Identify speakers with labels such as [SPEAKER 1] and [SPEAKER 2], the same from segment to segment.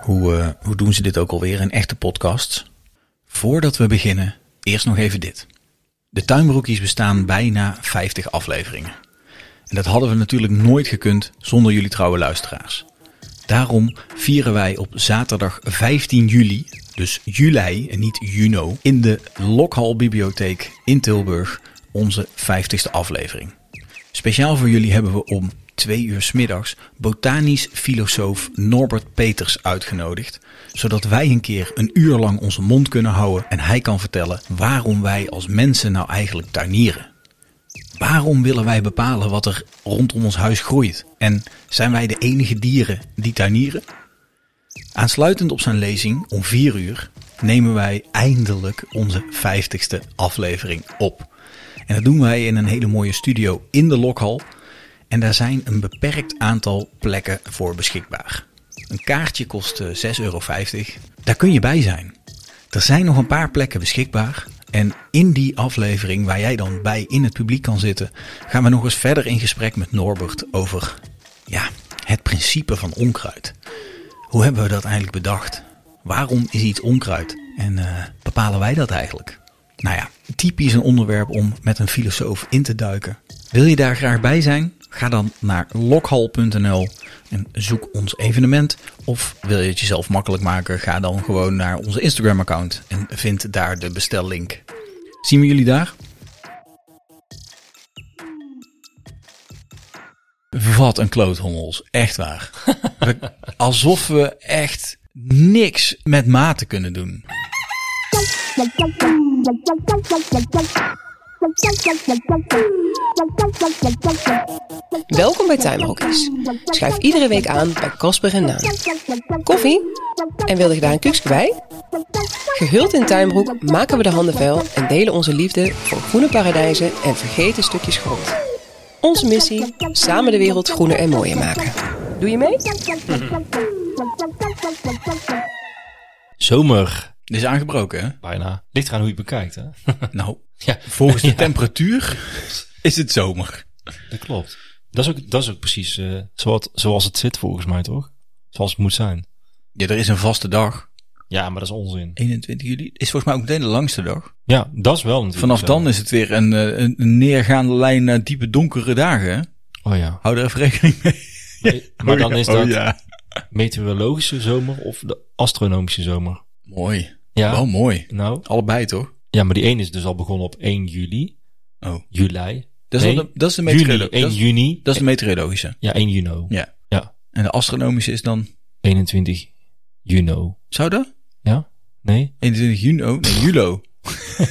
[SPEAKER 1] Hoe, eh, hoe doen ze dit ook alweer in echte podcasts? Voordat we beginnen, eerst nog even dit. De tuinbroekies bestaan bijna 50 afleveringen. En dat hadden we natuurlijk nooit gekund zonder jullie trouwe luisteraars. Daarom vieren wij op zaterdag 15 juli, dus juli en niet juno, in de Lokhal Bibliotheek in Tilburg onze 50ste aflevering. Speciaal voor jullie hebben we om twee uur 's middags botanisch filosoof Norbert Peters uitgenodigd, zodat wij een keer een uur lang onze mond kunnen houden en hij kan vertellen waarom wij als mensen nou eigenlijk tuinieren. Waarom willen wij bepalen wat er rondom ons huis groeit? En zijn wij de enige dieren die tuinieren? Aansluitend op zijn lezing om 4 uur nemen wij eindelijk onze 50ste aflevering op. En dat doen wij in een hele mooie studio in de Lokhal. En daar zijn een beperkt aantal plekken voor beschikbaar. Een kaartje kost eh, 6,50 euro. Daar kun je bij zijn. Er zijn nog een paar plekken beschikbaar. En in die aflevering waar jij dan bij in het publiek kan zitten, gaan we nog eens verder in gesprek met Norbert over ja, het principe van onkruid. Hoe hebben we dat eigenlijk bedacht? Waarom is iets onkruid? En eh, bepalen wij dat eigenlijk? Nou ja, typisch een onderwerp om met een filosoof in te duiken. Wil je daar graag bij zijn? Ga dan naar lokhal.nl en zoek ons evenement. Of wil je het jezelf makkelijk maken? Ga dan gewoon naar onze Instagram-account en vind daar de bestellink. Zien we jullie daar? Wat een kloot, hommels. Echt waar. We- alsof we echt niks met maten kunnen doen.
[SPEAKER 2] Welkom bij Tuinbroekjes. Schuif iedere week aan bij Kasper en Naam.
[SPEAKER 3] Koffie? En wilde je daar een kuksje bij?
[SPEAKER 2] Gehuld in tuinbroek maken we de handen vuil en delen onze liefde voor groene paradijzen en vergeten stukjes grond. Onze missie: samen de wereld groener en mooier maken. Doe je mee?
[SPEAKER 3] Zomer.
[SPEAKER 1] Dit is aangebroken, hè?
[SPEAKER 3] Bijna. Ligt eraan hoe je het bekijkt, hè?
[SPEAKER 1] Nou,
[SPEAKER 3] ja,
[SPEAKER 1] volgens de temperatuur is het zomer.
[SPEAKER 3] dat klopt. Dat is ook, dat is ook precies eh, zoals, zoals het zit, volgens mij, toch? Zoals het moet zijn.
[SPEAKER 1] Ja, er is een vaste dag.
[SPEAKER 3] Ja, maar dat is onzin.
[SPEAKER 1] 21 juli is volgens mij ook meteen de langste dag.
[SPEAKER 3] Ja, dat is wel natuurlijk
[SPEAKER 1] Vanaf
[SPEAKER 3] zo.
[SPEAKER 1] dan is het weer een, eh, een een neergaande lijn naar diepe donkere dagen. hè?
[SPEAKER 3] Oh ja.
[SPEAKER 1] Hou daar even rekening mee.
[SPEAKER 3] Maar dan
[SPEAKER 1] Oh,
[SPEAKER 3] is
[SPEAKER 1] ja.
[SPEAKER 3] dat
[SPEAKER 1] Oh, ja.
[SPEAKER 3] meteorologische zomer of de astronomische zomer.
[SPEAKER 1] Mooi.
[SPEAKER 3] Ja.
[SPEAKER 1] Wel mooi.
[SPEAKER 3] Nou,
[SPEAKER 1] Allebei toch?
[SPEAKER 3] ja, maar die ene is dus al begonnen op 1 juli.
[SPEAKER 1] Oh.
[SPEAKER 3] Juli.
[SPEAKER 1] Dat is,
[SPEAKER 3] Nee,
[SPEAKER 1] wel de, dat is de
[SPEAKER 3] Juni.
[SPEAKER 1] meteorolo-
[SPEAKER 3] 1
[SPEAKER 1] dat is-
[SPEAKER 3] juni.
[SPEAKER 1] dat is de meteorologische.
[SPEAKER 3] Ja, 1 juno.
[SPEAKER 1] Ja.
[SPEAKER 3] Ja.
[SPEAKER 1] En de astronomische is dan...
[SPEAKER 3] 21 juno.
[SPEAKER 1] Zou dat?
[SPEAKER 3] Ja? Nee?
[SPEAKER 1] 21 juni? oh, Nee, julo.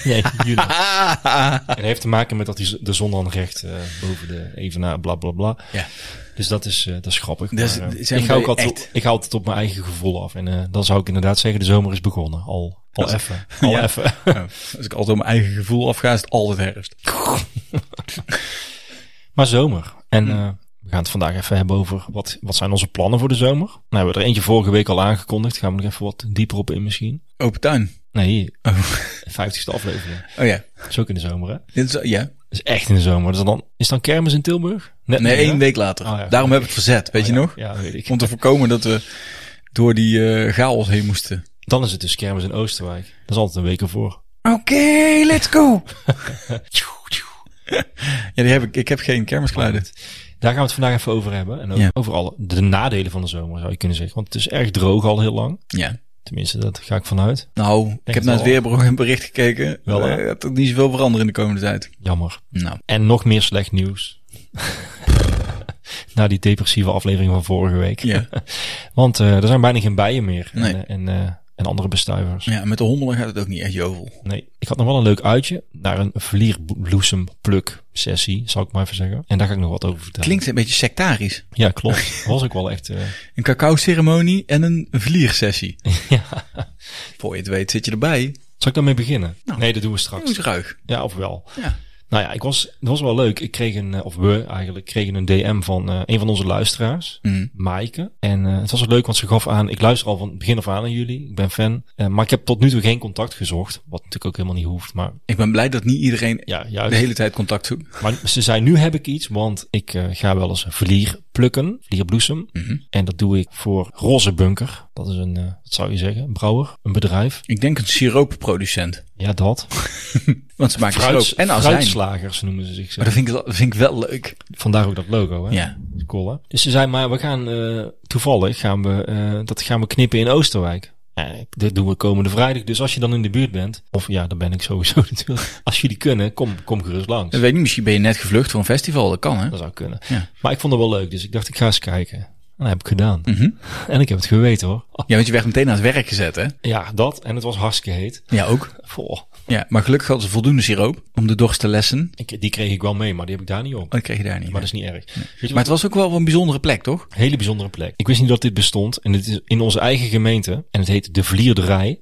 [SPEAKER 3] Nee, juno. En het heeft te maken met dat die z- de zon dan recht eh, boven de evenaar, bla bla bla.
[SPEAKER 1] Ja. Dus
[SPEAKER 3] Dus dat is, eh, dat is grappig.
[SPEAKER 1] Dat is-
[SPEAKER 3] Maar, eh,
[SPEAKER 1] zijn
[SPEAKER 3] ik, ga
[SPEAKER 1] we
[SPEAKER 3] ook altijd,
[SPEAKER 1] echt-
[SPEAKER 3] ik ga altijd op mijn eigen gevoel af. En eh, dan zou ik inderdaad zeggen, de zomer is begonnen. Al, al
[SPEAKER 1] Dat-
[SPEAKER 3] even. Al
[SPEAKER 1] Ja.
[SPEAKER 3] even.
[SPEAKER 1] Ja, Oh, als ik altijd op mijn eigen gevoel afga, is het altijd herfst.
[SPEAKER 3] Maar zomer. En eh, we gaan het vandaag even hebben over wat, wat zijn onze plannen voor de zomer. Nou, we hebben er eentje vorige week al aangekondigd. Gaan we nog even wat dieper op in misschien.
[SPEAKER 1] Open tuin.
[SPEAKER 3] Nee,
[SPEAKER 1] Oh,
[SPEAKER 3] 50ste aflevering.
[SPEAKER 1] oh ja.
[SPEAKER 3] Dat is ook in de zomer, hè?
[SPEAKER 1] Dit is, ja.
[SPEAKER 3] Dat is echt in de zomer. Dat is, dan, is dan kermis in Tilburg? Net
[SPEAKER 1] Nee,
[SPEAKER 3] niet, hè?
[SPEAKER 1] één week later.
[SPEAKER 3] Oh ja. Oh,
[SPEAKER 1] Daarom hebben we het verzet, weet je
[SPEAKER 3] Ja,
[SPEAKER 1] nog?
[SPEAKER 3] Ja, weet ik.
[SPEAKER 1] Om te voorkomen dat we door die eh, chaos heen moesten.
[SPEAKER 3] Dan is het dus kermis in Oosterwijk. Dat is altijd een week ervoor.
[SPEAKER 1] Oké, let's go! ja, die heb ik, ik heb geen kermisgeluiden.
[SPEAKER 3] Daar gaan we het vandaag even over hebben. En ook
[SPEAKER 1] Ja.
[SPEAKER 3] over alle, de nadelen van de zomer zou je kunnen zeggen. Want het is erg droog al heel lang.
[SPEAKER 1] Ja.
[SPEAKER 3] Tenminste, dat ga ik vanuit.
[SPEAKER 1] Nou, ik heb
[SPEAKER 3] het
[SPEAKER 1] naar het
[SPEAKER 3] wel.
[SPEAKER 1] weerbericht gekeken.
[SPEAKER 3] Wel, hè?
[SPEAKER 1] Eh, gaat ook niet zoveel veranderen in de komende tijd.
[SPEAKER 3] Jammer.
[SPEAKER 1] Nou,
[SPEAKER 3] En nog meer slecht nieuws. Na die depressieve aflevering van vorige week.
[SPEAKER 1] ja.
[SPEAKER 3] Want eh, er zijn bijna geen bijen meer.
[SPEAKER 1] Nee.
[SPEAKER 3] En, eh, en, eh, en andere bestuivers.
[SPEAKER 1] ja, met de hommelen gaat het ook niet echt jovel.
[SPEAKER 3] Nee, ik had nog wel een leuk uitje naar een vlierbloesempluk sessie, zou ik maar even zeggen. En daar ga ik nog wat over vertellen.
[SPEAKER 1] Klinkt een beetje sectarisch.
[SPEAKER 3] Ja, klopt. Dat was ook wel echt... eh,
[SPEAKER 1] Een cacao-ceremonie en een vliersessie.
[SPEAKER 3] ja.
[SPEAKER 1] Voor je het weet zit je erbij.
[SPEAKER 3] Zal ik daarmee beginnen?
[SPEAKER 1] Nou.
[SPEAKER 3] nee, dat doen we straks.
[SPEAKER 1] ruig.
[SPEAKER 3] Ja, of wel.
[SPEAKER 1] Ja.
[SPEAKER 3] Nou ja, ik was, dat was wel leuk. Ik kreeg een, eh, of we eigenlijk, kregen een DM van eh, een van onze luisteraars.
[SPEAKER 1] Mm.
[SPEAKER 3] Maaike. En eh, het was ook leuk, want ze gaf aan, ik luister al van het begin af aan aan jullie. Ik ben fan. Eh, maar ik heb tot nu toe geen contact gezocht. Wat natuurlijk ook helemaal niet hoeft. Maar
[SPEAKER 1] Ik ben blij dat niet iedereen
[SPEAKER 3] ja,
[SPEAKER 1] de
[SPEAKER 3] juist.
[SPEAKER 1] hele tijd contact zoekt.
[SPEAKER 3] Maar ze zei, nu heb ik iets, want ik eh, ga wel eens een vlier plukken, vlierbloesem.
[SPEAKER 1] Mhm.
[SPEAKER 3] En dat doe ik voor Roze Bunker. Dat is een, eh, wat zou je zeggen, een brouwer, een bedrijf.
[SPEAKER 1] Ik denk een siroopproducent.
[SPEAKER 3] Ja, dat.
[SPEAKER 1] Want ze maken siroop en azijn.
[SPEAKER 3] fruitslagers noemen ze
[SPEAKER 1] Maar
[SPEAKER 3] zichzelf.
[SPEAKER 1] dat vind, ik, dat vind ik wel leuk.
[SPEAKER 3] Vandaar ook dat logo, hè?
[SPEAKER 1] Ja.
[SPEAKER 3] Cool, hè? Dus ze zei, maar we gaan eh, toevallig gaan we, eh, dat gaan we knippen in Oosterwijk. Ja, dat doen we komende vrijdag. Dus als je dan in de buurt bent, of ja, dan ben ik sowieso natuurlijk. Als jullie kunnen, kom, kom gerust langs.
[SPEAKER 1] Dat weet ik niet, misschien ben je net gevlucht voor een festival. Dat kan, hè?
[SPEAKER 3] Dat zou kunnen.
[SPEAKER 1] Ja.
[SPEAKER 3] Maar ik vond het wel leuk, dus ik dacht, ik ga eens kijken. En dat heb ik gedaan.
[SPEAKER 1] Mhm.
[SPEAKER 3] En ik heb het geweten hoor. Oh,
[SPEAKER 1] Ja, want je werd meteen aan het werk gezet, hè?
[SPEAKER 3] Ja, dat. En het was hartstikke heet.
[SPEAKER 1] Ja, ook.
[SPEAKER 3] Voor.
[SPEAKER 1] Ja, maar gelukkig hadden ze voldoende siroop om de dorst te lessen. Oh,
[SPEAKER 3] Ik, die kreeg ik wel mee, maar die heb ik daar niet op.
[SPEAKER 1] dat kreeg je daar niet.
[SPEAKER 3] Maar dat
[SPEAKER 1] hè?
[SPEAKER 3] is niet erg. Weet je wat-
[SPEAKER 1] Oh, Maar het was ook wel een bijzondere plek, toch?
[SPEAKER 3] Hele bijzondere plek. Ik wist niet dat dit bestond. En dit is in onze eigen gemeente. En het heet De Vlierderij.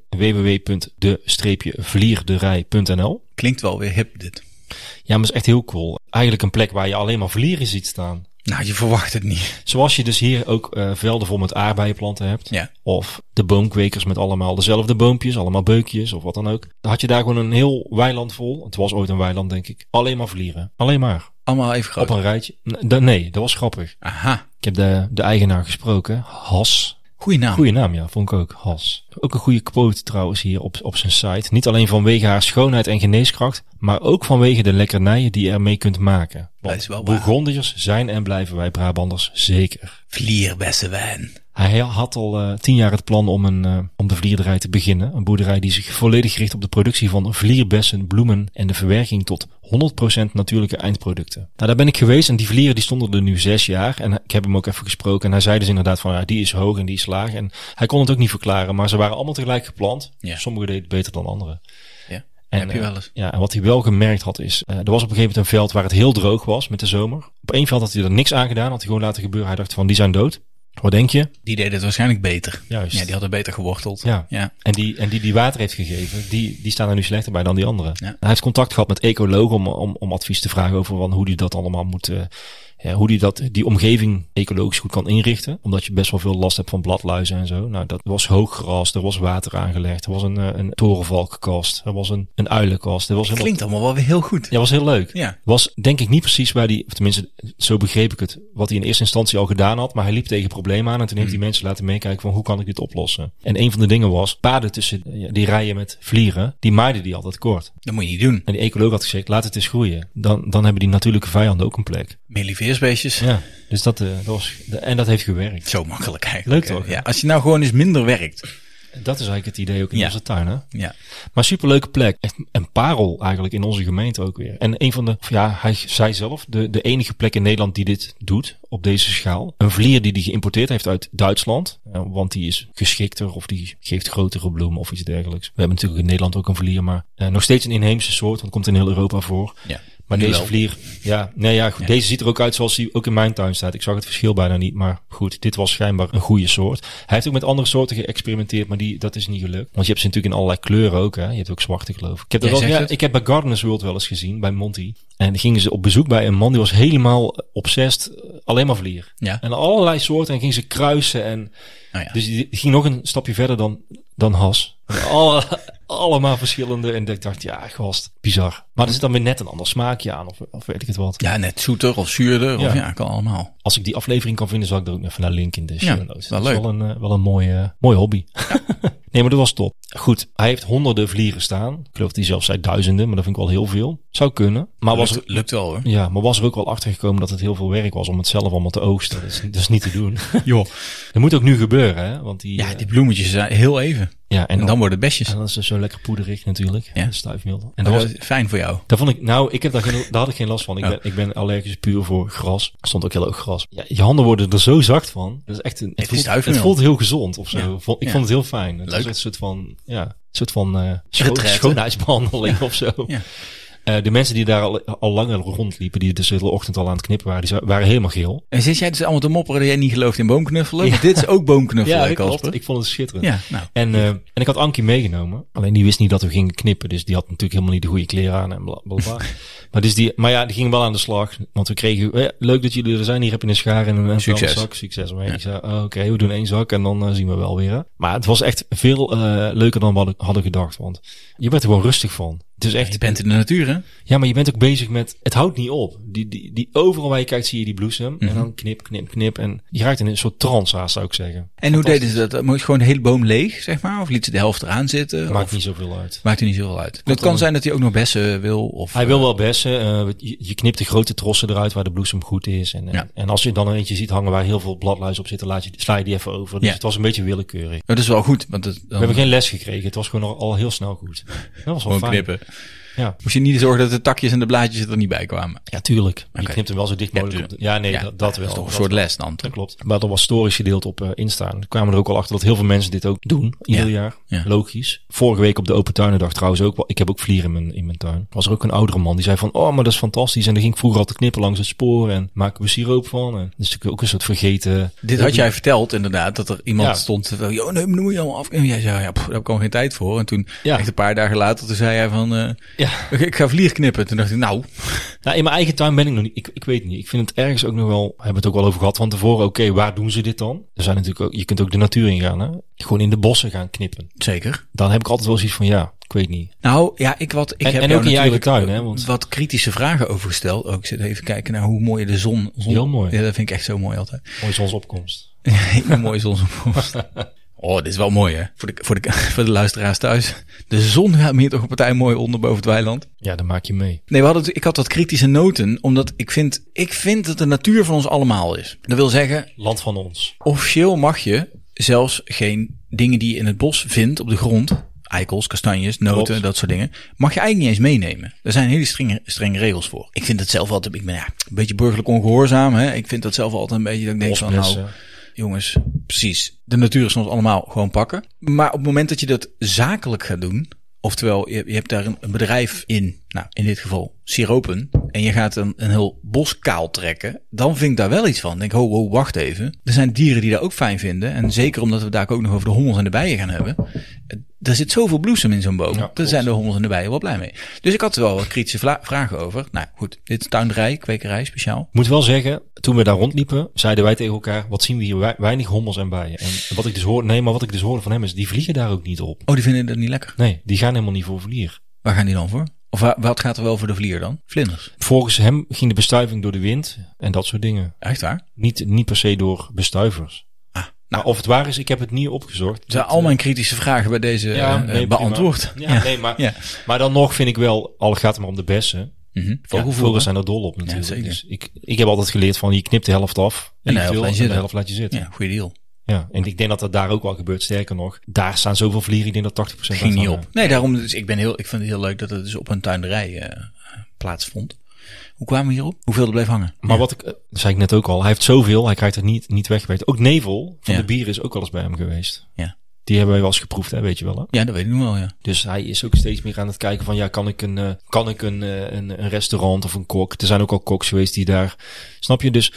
[SPEAKER 3] www.de-vlierderij.nl
[SPEAKER 1] Klinkt wel weer hip, dit.
[SPEAKER 3] Ja, maar het is echt heel cool. Eigenlijk een plek waar je alleen maar vlieren ziet staan.
[SPEAKER 1] Nou, je verwacht het niet.
[SPEAKER 3] Zoals je dus hier ook eh, velden vol met aardbeienplanten hebt.
[SPEAKER 1] Ja.
[SPEAKER 3] Of de boomkwekers met allemaal dezelfde boompjes, allemaal beukjes of wat dan ook. Dan had je daar gewoon een heel weiland vol. Het was ooit een weiland, denk ik. Alleen maar vlieren. Alleen maar.
[SPEAKER 1] Allemaal even groot.
[SPEAKER 3] Op een rijtje. N- da- Nee, dat was grappig.
[SPEAKER 1] Aha.
[SPEAKER 3] Ik heb de, de eigenaar gesproken. Has.
[SPEAKER 1] Goeie naam.
[SPEAKER 3] Goeie naam, ja, vond ik ook, Has. Ook een goede quote trouwens hier op, op zijn site. Niet alleen vanwege haar schoonheid en geneeskracht, maar ook vanwege de lekkernijen die je ermee kunt maken. Want
[SPEAKER 1] is wel waar.
[SPEAKER 3] Bourgondiërs zijn en blijven wij Brabanders zeker.
[SPEAKER 1] Vlierbessenwijn.
[SPEAKER 3] Hij had al eh, tien jaar het plan om, een, eh, om de vlierderij te beginnen. Een boerderij die zich volledig richt op de productie van vlierbessen, bloemen en de verwerking tot 100% natuurlijke eindproducten. Nou, daar ben ik geweest en die vlieren die stonden er nu zes jaar. En ik heb hem ook even gesproken en hij zei dus inderdaad van ja, die is hoog en die is laag. En hij kon het ook niet verklaren, maar ze waren allemaal tegelijk geplant.
[SPEAKER 1] Ja.
[SPEAKER 3] Sommige deden het beter dan anderen.
[SPEAKER 1] Ja.
[SPEAKER 3] En,
[SPEAKER 1] Heb je
[SPEAKER 3] eh,
[SPEAKER 1] wel eens.
[SPEAKER 3] ja, en wat hij wel gemerkt had is, eh, er was op een gegeven moment een veld waar het heel droog was met de zomer. Op één veld had hij er niks aan gedaan, had hij gewoon laten gebeuren. Hij dacht van, die zijn dood. Wat denk je?
[SPEAKER 1] Die deden het waarschijnlijk beter.
[SPEAKER 3] Juist.
[SPEAKER 1] Ja, die hadden beter geworteld.
[SPEAKER 3] Ja.
[SPEAKER 1] ja.
[SPEAKER 3] En die, en die die water heeft gegeven, die, die staan er nu slechter bij dan die anderen.
[SPEAKER 1] Ja.
[SPEAKER 3] Hij heeft contact gehad met ecologen om, om, om advies te vragen over van hoe die dat allemaal moet, eh, ja, hoe die dat, die omgeving ecologisch goed kan inrichten. Omdat je best wel veel last hebt van bladluizen en zo. Nou, dat was hoog gras, er was water aangelegd, er was een, eh, een torenvalkenkast, er was een, een uilenkast. Er was helemaal,
[SPEAKER 1] Klinkt allemaal wel weer heel goed.
[SPEAKER 3] ja, was heel leuk.
[SPEAKER 1] Ja.
[SPEAKER 3] Was denk ik niet precies waar hij, of tenminste, zo begreep ik het, wat hij in eerste instantie al gedaan had. Maar hij liep tegen problemen aan en toen
[SPEAKER 1] Mm.
[SPEAKER 3] heeft hij mensen laten meekijken van hoe kan ik dit oplossen. En een van de dingen was, paden tussen eh, die rijen met vlieren, die maaiden die altijd kort.
[SPEAKER 1] Dat moet je niet doen.
[SPEAKER 3] En die ecoloog had gezegd, laat het eens groeien. Dan, dan hebben die natuurlijke vijanden ook een plek.
[SPEAKER 1] Meliveersbeestjes.
[SPEAKER 3] Ja, dus dat, eh, dat was, en dat heeft gewerkt.
[SPEAKER 1] Zo makkelijk eigenlijk.
[SPEAKER 3] Leuk toch, hè?
[SPEAKER 1] Ja, als je nou gewoon eens minder werkt.
[SPEAKER 3] Dat is eigenlijk het idee ook in
[SPEAKER 1] Ja.
[SPEAKER 3] onze tuin, hè?
[SPEAKER 1] Ja.
[SPEAKER 3] Maar superleuke plek. Echt een parel eigenlijk in onze gemeente ook weer. En een van de, of ja, hij zei zelf, de, de enige plek in Nederland die dit doet op deze schaal. Een vlier die die geïmporteerd heeft uit Duitsland. eh, Want die is geschikter of die geeft grotere bloemen of iets dergelijks. We hebben natuurlijk in Nederland ook een vlier, maar eh, nog steeds een inheemse soort. Want het komt in heel Europa voor.
[SPEAKER 1] ja.
[SPEAKER 3] Maar
[SPEAKER 1] Nu
[SPEAKER 3] deze
[SPEAKER 1] wel.
[SPEAKER 3] vlier, ja, nee, ja, goed, deze ziet er ook uit zoals die ook in mijn tuin staat. Ik zag het verschil bijna niet, maar goed, dit was schijnbaar een goede soort. Hij heeft ook met andere soorten geëxperimenteerd, maar die, dat is niet gelukt. Want je hebt ze natuurlijk in allerlei kleuren ook, hè. Je hebt ook zwarte, geloof ik. Ik heb, dat
[SPEAKER 1] Jij
[SPEAKER 3] wel,
[SPEAKER 1] zegt
[SPEAKER 3] ja,
[SPEAKER 1] het.
[SPEAKER 3] ik heb bij Gardeners World wel eens gezien, bij Monty. En dan gingen ze op bezoek bij een man die was helemaal obsessed, eh, alleen maar vlier.
[SPEAKER 1] Ja.
[SPEAKER 3] En allerlei soorten en gingen ze kruisen en...
[SPEAKER 1] Nou ja.
[SPEAKER 3] Dus die ging nog een stapje verder dan, dan Has. Alle, allemaal verschillende. En ik dacht, ja, gast, bizar. Maar er zit dan weer net een ander smaakje aan, of, of weet ik het wat.
[SPEAKER 1] ja, net zoeter of zuurder. Of
[SPEAKER 3] Ja.
[SPEAKER 1] ja, kan allemaal.
[SPEAKER 3] Als ik die aflevering kan vinden, zal ik er ook even naar linken in de
[SPEAKER 1] Ja,
[SPEAKER 3] show notes.
[SPEAKER 1] wel
[SPEAKER 3] dat is
[SPEAKER 1] leuk.
[SPEAKER 3] wel een, eh, wel een mooie, mooie hobby. nee, maar dat was top. Goed, hij heeft honderden vlieren staan. Ik geloof dat hij zelf zei duizenden, maar dat vind ik wel heel veel. Zou kunnen. Maar was er,
[SPEAKER 1] lukt, lukt wel hoor.
[SPEAKER 3] ja, maar was er ook wel achter gekomen dat het heel veel werk was om het zelf allemaal te oogsten. Dat is, dat is niet te doen. Joh. Dat moet ook nu gebeuren, hè? Want die,
[SPEAKER 1] Ja,
[SPEAKER 3] eh,
[SPEAKER 1] die bloemetjes zijn heel even.
[SPEAKER 3] ja,
[SPEAKER 1] En dan worden het besjes.
[SPEAKER 3] En dat is dus zo lekker poederig natuurlijk.
[SPEAKER 1] Ja.
[SPEAKER 3] Ja. Stuifmeel. En
[SPEAKER 1] Dat
[SPEAKER 3] dat was,
[SPEAKER 1] was fijn voor jou.
[SPEAKER 3] daar vond ik, nou, ik heb daar, geen, daar had ik geen last van. Ik,
[SPEAKER 1] Oh.
[SPEAKER 3] ben, ik ben allergisch puur voor gras. Er stond ook heel erg gras. Ja, je handen worden er zo zacht van. Dat is echt een, het, voelt,
[SPEAKER 1] stuifmeel.
[SPEAKER 3] het voelt heel gezond of zo.
[SPEAKER 1] Ja.
[SPEAKER 3] Vond- ik
[SPEAKER 1] Ja.
[SPEAKER 3] vond het heel fijn. Het
[SPEAKER 1] Leuk.
[SPEAKER 3] is een soort van, ja, een soort van eh, scho-
[SPEAKER 1] Retraite.
[SPEAKER 3] schoonheidsbehandeling of zo.
[SPEAKER 1] Ja.
[SPEAKER 3] Eh, de mensen die daar al, al langer rondliepen, die dus de hele ochtend al aan het knippen waren, die za- waren helemaal geel.
[SPEAKER 1] En zit jij dus allemaal te mopperen dat jij niet gelooft in boomknuffelen? Want Dit is ook boomknuffelen,
[SPEAKER 3] dat klopt.
[SPEAKER 1] Casper.
[SPEAKER 3] Ik vond het schitterend.
[SPEAKER 1] Ja, nou.
[SPEAKER 3] En, eh, en ik had Ankie meegenomen. Alleen die wist niet dat we gingen knippen. Dus die had natuurlijk helemaal niet de goede kleren aan en bla bla bla. maar, dus die, maar ja, die ging wel aan de slag. Want we kregen, eh, leuk dat jullie er zijn. Hier heb je een schaar en een en
[SPEAKER 1] Succes.
[SPEAKER 3] zak. Succes. Maar ik zei, oh, oké, we doen één zak en dan eh, zien we wel weer. hè. Maar het was echt veel eh, leuker dan we hadden- hadden gedacht. Want je werd er gewoon rustig van. Het is echt,
[SPEAKER 1] Je bent in de natuur, hè?
[SPEAKER 3] ja, maar je bent ook bezig met, het houdt niet op. Die, die, die overal waar je kijkt zie je die bloesem.
[SPEAKER 1] Mhm.
[SPEAKER 3] En dan knip, knip, knip. En je raakt in een soort trance haast, zou ik zeggen.
[SPEAKER 1] En hoe deden ze dat? Moest gewoon de hele boom leeg, zeg maar? Of liet ze de helft eraan zitten?
[SPEAKER 3] Maakt
[SPEAKER 1] Of-
[SPEAKER 3] niet zoveel uit.
[SPEAKER 1] maakt er niet zoveel uit. Het kan
[SPEAKER 3] dan-
[SPEAKER 1] zijn dat hij ook nog bessen wil. Of,
[SPEAKER 3] Hij wil wel bessen. eh, je, je knipt de grote trossen eruit waar de bloesem goed is. En, en-
[SPEAKER 1] Ja.
[SPEAKER 3] en als je dan er eentje ziet hangen waar heel veel bladluis op zitten, laat je, sla je die even over. Dus
[SPEAKER 1] Ja.
[SPEAKER 3] het was een beetje willekeurig.
[SPEAKER 1] Maar dat is wel goed, want het,
[SPEAKER 3] We
[SPEAKER 1] dan
[SPEAKER 3] hebben geen les gekregen. Het was gewoon al, al heel snel goed. Dat was wel
[SPEAKER 1] gewoon
[SPEAKER 3] fijn.
[SPEAKER 1] knippen.
[SPEAKER 3] Ja.
[SPEAKER 1] Moest je niet zorgen dat de takjes en de blaadjes er niet bij kwamen.
[SPEAKER 3] ja, tuurlijk. Je
[SPEAKER 1] Oké.
[SPEAKER 3] knipt hem wel zo dicht mogelijk.
[SPEAKER 1] Ja,
[SPEAKER 3] op de- Ja, nee,
[SPEAKER 1] Ja,
[SPEAKER 3] dat, dat wel.
[SPEAKER 1] is toch een
[SPEAKER 3] Dat
[SPEAKER 1] soort
[SPEAKER 3] wel.
[SPEAKER 1] les dan.
[SPEAKER 3] Dat
[SPEAKER 1] toch?
[SPEAKER 3] klopt. Maar dat was storisch gedeeld op eh, Insta. En kwamen er ook al achter dat heel veel mensen dit ook doen. Ieder
[SPEAKER 1] Ja.
[SPEAKER 3] jaar.
[SPEAKER 1] Ja.
[SPEAKER 3] Logisch. Vorige week op de Open Tuinendag trouwens ook. wel- Ik heb ook vlieren in mijn, in mijn tuin. Was er ook een oudere man die zei van... Oh, maar dat is fantastisch. En dan ging ik vroeger altijd knippen langs het spoor. En maken we siroop van. En dat is natuurlijk ook een soort vergeten... Nou,
[SPEAKER 1] Dit had jij verteld inderdaad, dat er iemand
[SPEAKER 3] Ja.
[SPEAKER 1] stond. Van, Yo, nee, moet je allemaal af. En jij zei, ja, pff, daar heb ik gewoon geen tijd voor. En toen,
[SPEAKER 3] Ja.
[SPEAKER 1] echt een paar dagen later, toen zei hij van, eh,
[SPEAKER 3] Ja.
[SPEAKER 1] ik- ik ga vlier knippen. Toen dacht ik, nou,
[SPEAKER 3] Nou, in mijn eigen tuin ben ik nog niet. Ik, ik weet het niet. Ik vind het ergens ook nog wel. We hebben het ook wel over gehad van tevoren. Oké, waar doen ze dit dan? Er zijn natuurlijk ook, je kunt ook de natuur ingaan. Hè? Gewoon in de bossen gaan knippen.
[SPEAKER 1] zeker.
[SPEAKER 3] Dan heb ik altijd wel zoiets van ja, ik weet niet.
[SPEAKER 1] Nou, ja, ik wat. Ik
[SPEAKER 3] En-
[SPEAKER 1] heb
[SPEAKER 3] en
[SPEAKER 1] jou
[SPEAKER 3] ook in je eigen
[SPEAKER 1] natuurlijk,
[SPEAKER 3] tuin, hè,
[SPEAKER 1] eh,
[SPEAKER 3] want-
[SPEAKER 1] Wat kritische vragen overgesteld. Ook zit even kijken naar hoe mooi de zon. zon
[SPEAKER 3] Heel mooi.
[SPEAKER 1] Ja, dat vind ik echt zo mooi altijd.
[SPEAKER 3] Mooi zonsopkomst.
[SPEAKER 1] Hele mooie zonsopkomst. Oh, dit is wel mooi, hè? Voor de, voor, de, voor de luisteraars thuis. De zon gaat me hier toch een partij mooi onder boven het weiland.
[SPEAKER 3] Ja, dan maak je mee.
[SPEAKER 1] Nee, we hadden, het- ik had wat kritische noten, omdat ik vind, ik vind dat de natuur van ons allemaal is. Dat wil zeggen,
[SPEAKER 3] Land van ons.
[SPEAKER 1] officieel mag je zelfs geen dingen die je in het bos vindt op de grond, eikels, kastanjes, noten,
[SPEAKER 3] Klopt.
[SPEAKER 1] dat soort dingen, mag je eigenlijk niet eens meenemen. Er zijn hele strenge, strenge regels voor. Ik vind het zelf altijd, ik ben ja, een beetje burgerlijk ongehoorzaam, hè? Ik vind dat zelf altijd een beetje, dat ik denk van nou,
[SPEAKER 3] Bosbessen.
[SPEAKER 1] jongens, precies. De natuur is ons allemaal gewoon pakken. Maar op het moment dat je dat zakelijk gaat doen, oftewel je, je hebt daar een, een bedrijf in, nou in dit geval siropen, en je gaat een, een heel bos kaal trekken, dan vind ik daar wel iets van. Ik denk, ho, ho, wacht even. Er zijn dieren die dat ook fijn vinden. En zeker omdat we daar ook nog over de hommels en de bijen gaan hebben. eh, Daar zit zoveel bloesem in zo'n boom. daar
[SPEAKER 3] klopt.
[SPEAKER 1] zijn de hommels en de bijen wel blij mee. Dus ik had er wel wat kritische vla- vragen over. Nou goed, dit is tuinderij, kwekerij speciaal.
[SPEAKER 3] Ik moet wel zeggen, toen we daar rondliepen, zeiden wij tegen elkaar, wat zien we hier wei- weinig hommels en bijen. En wat ik dus hoorde, nee, maar wat ik dus hoorde van hem is, die vliegen daar ook niet op.
[SPEAKER 1] Oh, die vinden dat niet lekker.
[SPEAKER 3] Nee, die gaan helemaal niet voor vlier.
[SPEAKER 1] Waar gaan die dan voor? Of wa- wat gaat er wel voor de vlier dan? Vlinders.
[SPEAKER 3] Volgens hem ging de bestuiving door de wind en dat soort dingen.
[SPEAKER 1] Echt waar?
[SPEAKER 3] Niet, niet per se door bestuivers.
[SPEAKER 1] Ah,
[SPEAKER 3] Nou, of het waar is, ik heb het niet opgezocht.
[SPEAKER 1] Zijn
[SPEAKER 3] Dat,
[SPEAKER 1] al
[SPEAKER 3] eh,
[SPEAKER 1] mijn kritische vragen bij deze eh,
[SPEAKER 3] nee, prima.
[SPEAKER 1] beantwoord?
[SPEAKER 3] Ja, nee, maar,
[SPEAKER 1] Ja.
[SPEAKER 3] maar dan nog vind ik wel, al gaat het maar om de bessen.
[SPEAKER 1] Mhm.
[SPEAKER 3] Vogelvogels zijn er dol op natuurlijk.
[SPEAKER 1] zeker.
[SPEAKER 3] Dus ik, ik heb altijd geleerd van, je knipt de helft af.
[SPEAKER 1] En de helft
[SPEAKER 3] eventueel,
[SPEAKER 1] laat je
[SPEAKER 3] en
[SPEAKER 1] zitten.
[SPEAKER 3] de helft laat je zitten.
[SPEAKER 1] Ja, goede deal.
[SPEAKER 3] Ja. En ik denk dat dat daar ook wel gebeurt. Sterker nog, daar staan zoveel vliegen. Ik denk dat 80%
[SPEAKER 1] Ging niet
[SPEAKER 3] daarvan,
[SPEAKER 1] op. Nee, daarom dus ik ben heel, ik vind het heel leuk dat het dus op een tuinderij eh, plaatsvond. Hoe kwamen we hierop? Hoeveel er bleef hangen?
[SPEAKER 3] Maar wat ik, eh, dat zei ik net ook al, hij heeft zoveel, hij krijgt het niet, niet weggewerkt. Ook Nevel van
[SPEAKER 1] Ja.
[SPEAKER 3] de bier is ook wel eens bij hem geweest.
[SPEAKER 1] Ja.
[SPEAKER 3] Die hebben wij wel eens geproefd, hè, weet je wel. Hè?
[SPEAKER 1] Ja, dat weet ik nog wel, ja.
[SPEAKER 3] Dus hij is ook steeds meer aan het kijken van, ja, kan ik een, eh, kan ik een, eh, een, een restaurant of een kok? Er zijn ook al koks geweest die daar, snap je? Dus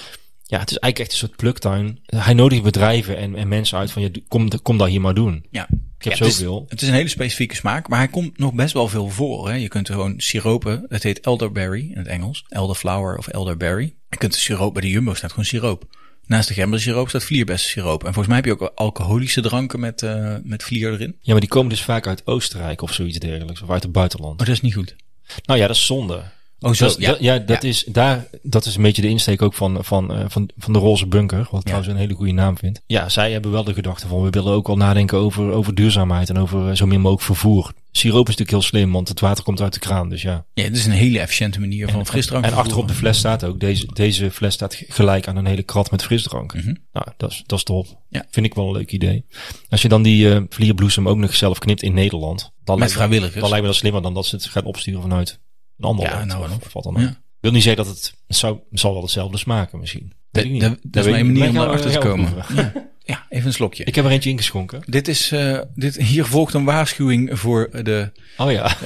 [SPEAKER 3] ja, het is eigenlijk echt een soort pluktuin. Hij nodigt bedrijven en, en mensen uit van, ja, doe- kom, kom dat hier maar doen.
[SPEAKER 1] Ja.
[SPEAKER 3] Ik heb
[SPEAKER 1] Ja, het is-
[SPEAKER 3] zoveel.
[SPEAKER 1] Het is een hele specifieke smaak, maar hij komt nog best wel veel voor. Hè? Je kunt er gewoon siropen, het heet elderberry in het Engels, elderflower of elderberry. Je kunt de siroop, bij de Jumbo staat gewoon siroop. Naast de gembersiroop staat vlierbessen-siroop. En volgens mij heb je ook alcoholische dranken met, eh, met vlier erin.
[SPEAKER 3] Ja, maar die komen dus vaak uit Oostenrijk of zoiets dergelijks, of uit het buitenland.
[SPEAKER 1] Maar dat is niet goed.
[SPEAKER 3] Nou ja, dat is zonde.
[SPEAKER 1] Oh, zo,
[SPEAKER 3] Dat-
[SPEAKER 1] ja.
[SPEAKER 3] dat- ja, dat, Is, daar, dat is een beetje de insteek ook van, van, eh, van, van de Roze Bunker. Wat ik trouwens een hele goede naam vind. Ja, zij hebben wel de gedachte van we willen ook wel nadenken over, over duurzaamheid en over eh, zo min mogelijk vervoer. Siroop is natuurlijk heel slim, want het water komt uit de kraan. Dus ja.
[SPEAKER 1] Ja, dit is een hele efficiënte manier van frisdrank
[SPEAKER 3] En
[SPEAKER 1] vervoeren.
[SPEAKER 3] achterop de fles staat ook, deze, deze fles staat gelijk aan een hele krat met frisdrank. Nou, dat is, dat is top.
[SPEAKER 1] Mhm. Ja.
[SPEAKER 3] Vind ik wel een leuk idee. Als je dan die eh, vlierbloesem ook nog zelf knipt in Nederland. Dan lijkt me-
[SPEAKER 1] vrijwilligers.
[SPEAKER 3] Dan lijkt me dat slimmer dan dat ze het gaan opsturen vanuit een ander
[SPEAKER 1] Ja,
[SPEAKER 3] land.
[SPEAKER 1] nou,
[SPEAKER 3] of,
[SPEAKER 1] en of.
[SPEAKER 3] of wat dan ook.
[SPEAKER 1] Ja.
[SPEAKER 3] Ik wil niet zeggen dat het, het zou, het zal wel hetzelfde smaken misschien. Weet ik niet.
[SPEAKER 1] Dat-
[SPEAKER 3] Dat
[SPEAKER 1] dat is
[SPEAKER 3] weet
[SPEAKER 1] mijn
[SPEAKER 3] ik niet.
[SPEAKER 1] manier om
[SPEAKER 3] Wij gaan-
[SPEAKER 1] daarachter
[SPEAKER 3] wij
[SPEAKER 1] te
[SPEAKER 3] gaan
[SPEAKER 1] komen.
[SPEAKER 3] proeven.
[SPEAKER 1] Ja, even een slokje.
[SPEAKER 3] Ik heb er eentje ingeschonken.
[SPEAKER 1] Dit is, eh, dit, hier volgt een waarschuwing voor de
[SPEAKER 3] Oh ja.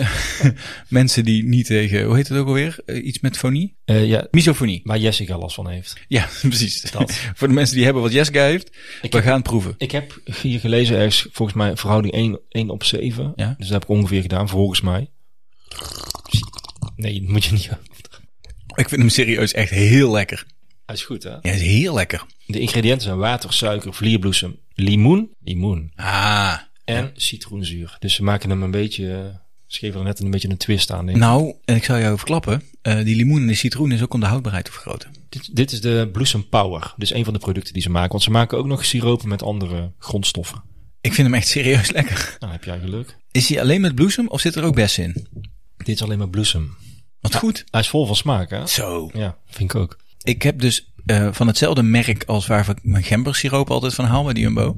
[SPEAKER 1] mensen die niet tegen, hoe heet het ook alweer? Eh, iets met fonie?
[SPEAKER 3] Eh, ja.
[SPEAKER 1] Misofonie.
[SPEAKER 3] Waar Jessica last van heeft.
[SPEAKER 1] Ja, precies.
[SPEAKER 3] Dat.
[SPEAKER 1] voor de mensen die hebben wat Jeska heeft,
[SPEAKER 3] Ik
[SPEAKER 1] we
[SPEAKER 3] heb-
[SPEAKER 1] gaan proeven.
[SPEAKER 3] Ik heb hier gelezen ergens volgens mij verhouding 1, 1 op 7.
[SPEAKER 1] Ja.
[SPEAKER 3] Dus dat heb ik ongeveer gedaan volgens mij. Nee, dat moet je niet.
[SPEAKER 1] Ik vind hem serieus echt heel lekker.
[SPEAKER 3] Hij is goed hè.
[SPEAKER 1] Ja, hij is heel lekker.
[SPEAKER 3] De ingrediënten zijn water, suiker, vlierbloesem, limoen. Limoen.
[SPEAKER 1] Ah,
[SPEAKER 3] En citroenzuur. Dus ze maken hem een beetje eh, Dus geven er net een beetje een twist aan. denk ik.
[SPEAKER 1] Nou, en ik zal jou verklappen, eh, die limoen en die citroen is ook om de houdbaarheid te vergroten.
[SPEAKER 3] Dit, dit is de Bloesem Power. Dit is een van de producten die ze maken. Want ze maken ook nog siropen met andere grondstoffen.
[SPEAKER 1] Ik vind hem echt serieus lekker.
[SPEAKER 3] Nou, heb jij geluk.
[SPEAKER 1] Is hij alleen met bloesem of zit er ook bessen in?
[SPEAKER 3] Dit is alleen maar bloesem.
[SPEAKER 1] Wat goed.
[SPEAKER 3] Hij is vol van smaak, hè?
[SPEAKER 1] Zo.
[SPEAKER 3] Ja, vind ik ook.
[SPEAKER 1] Ik heb dus eh, van hetzelfde merk als waar ik mijn gembersiroop altijd van haal bij de Jumbo.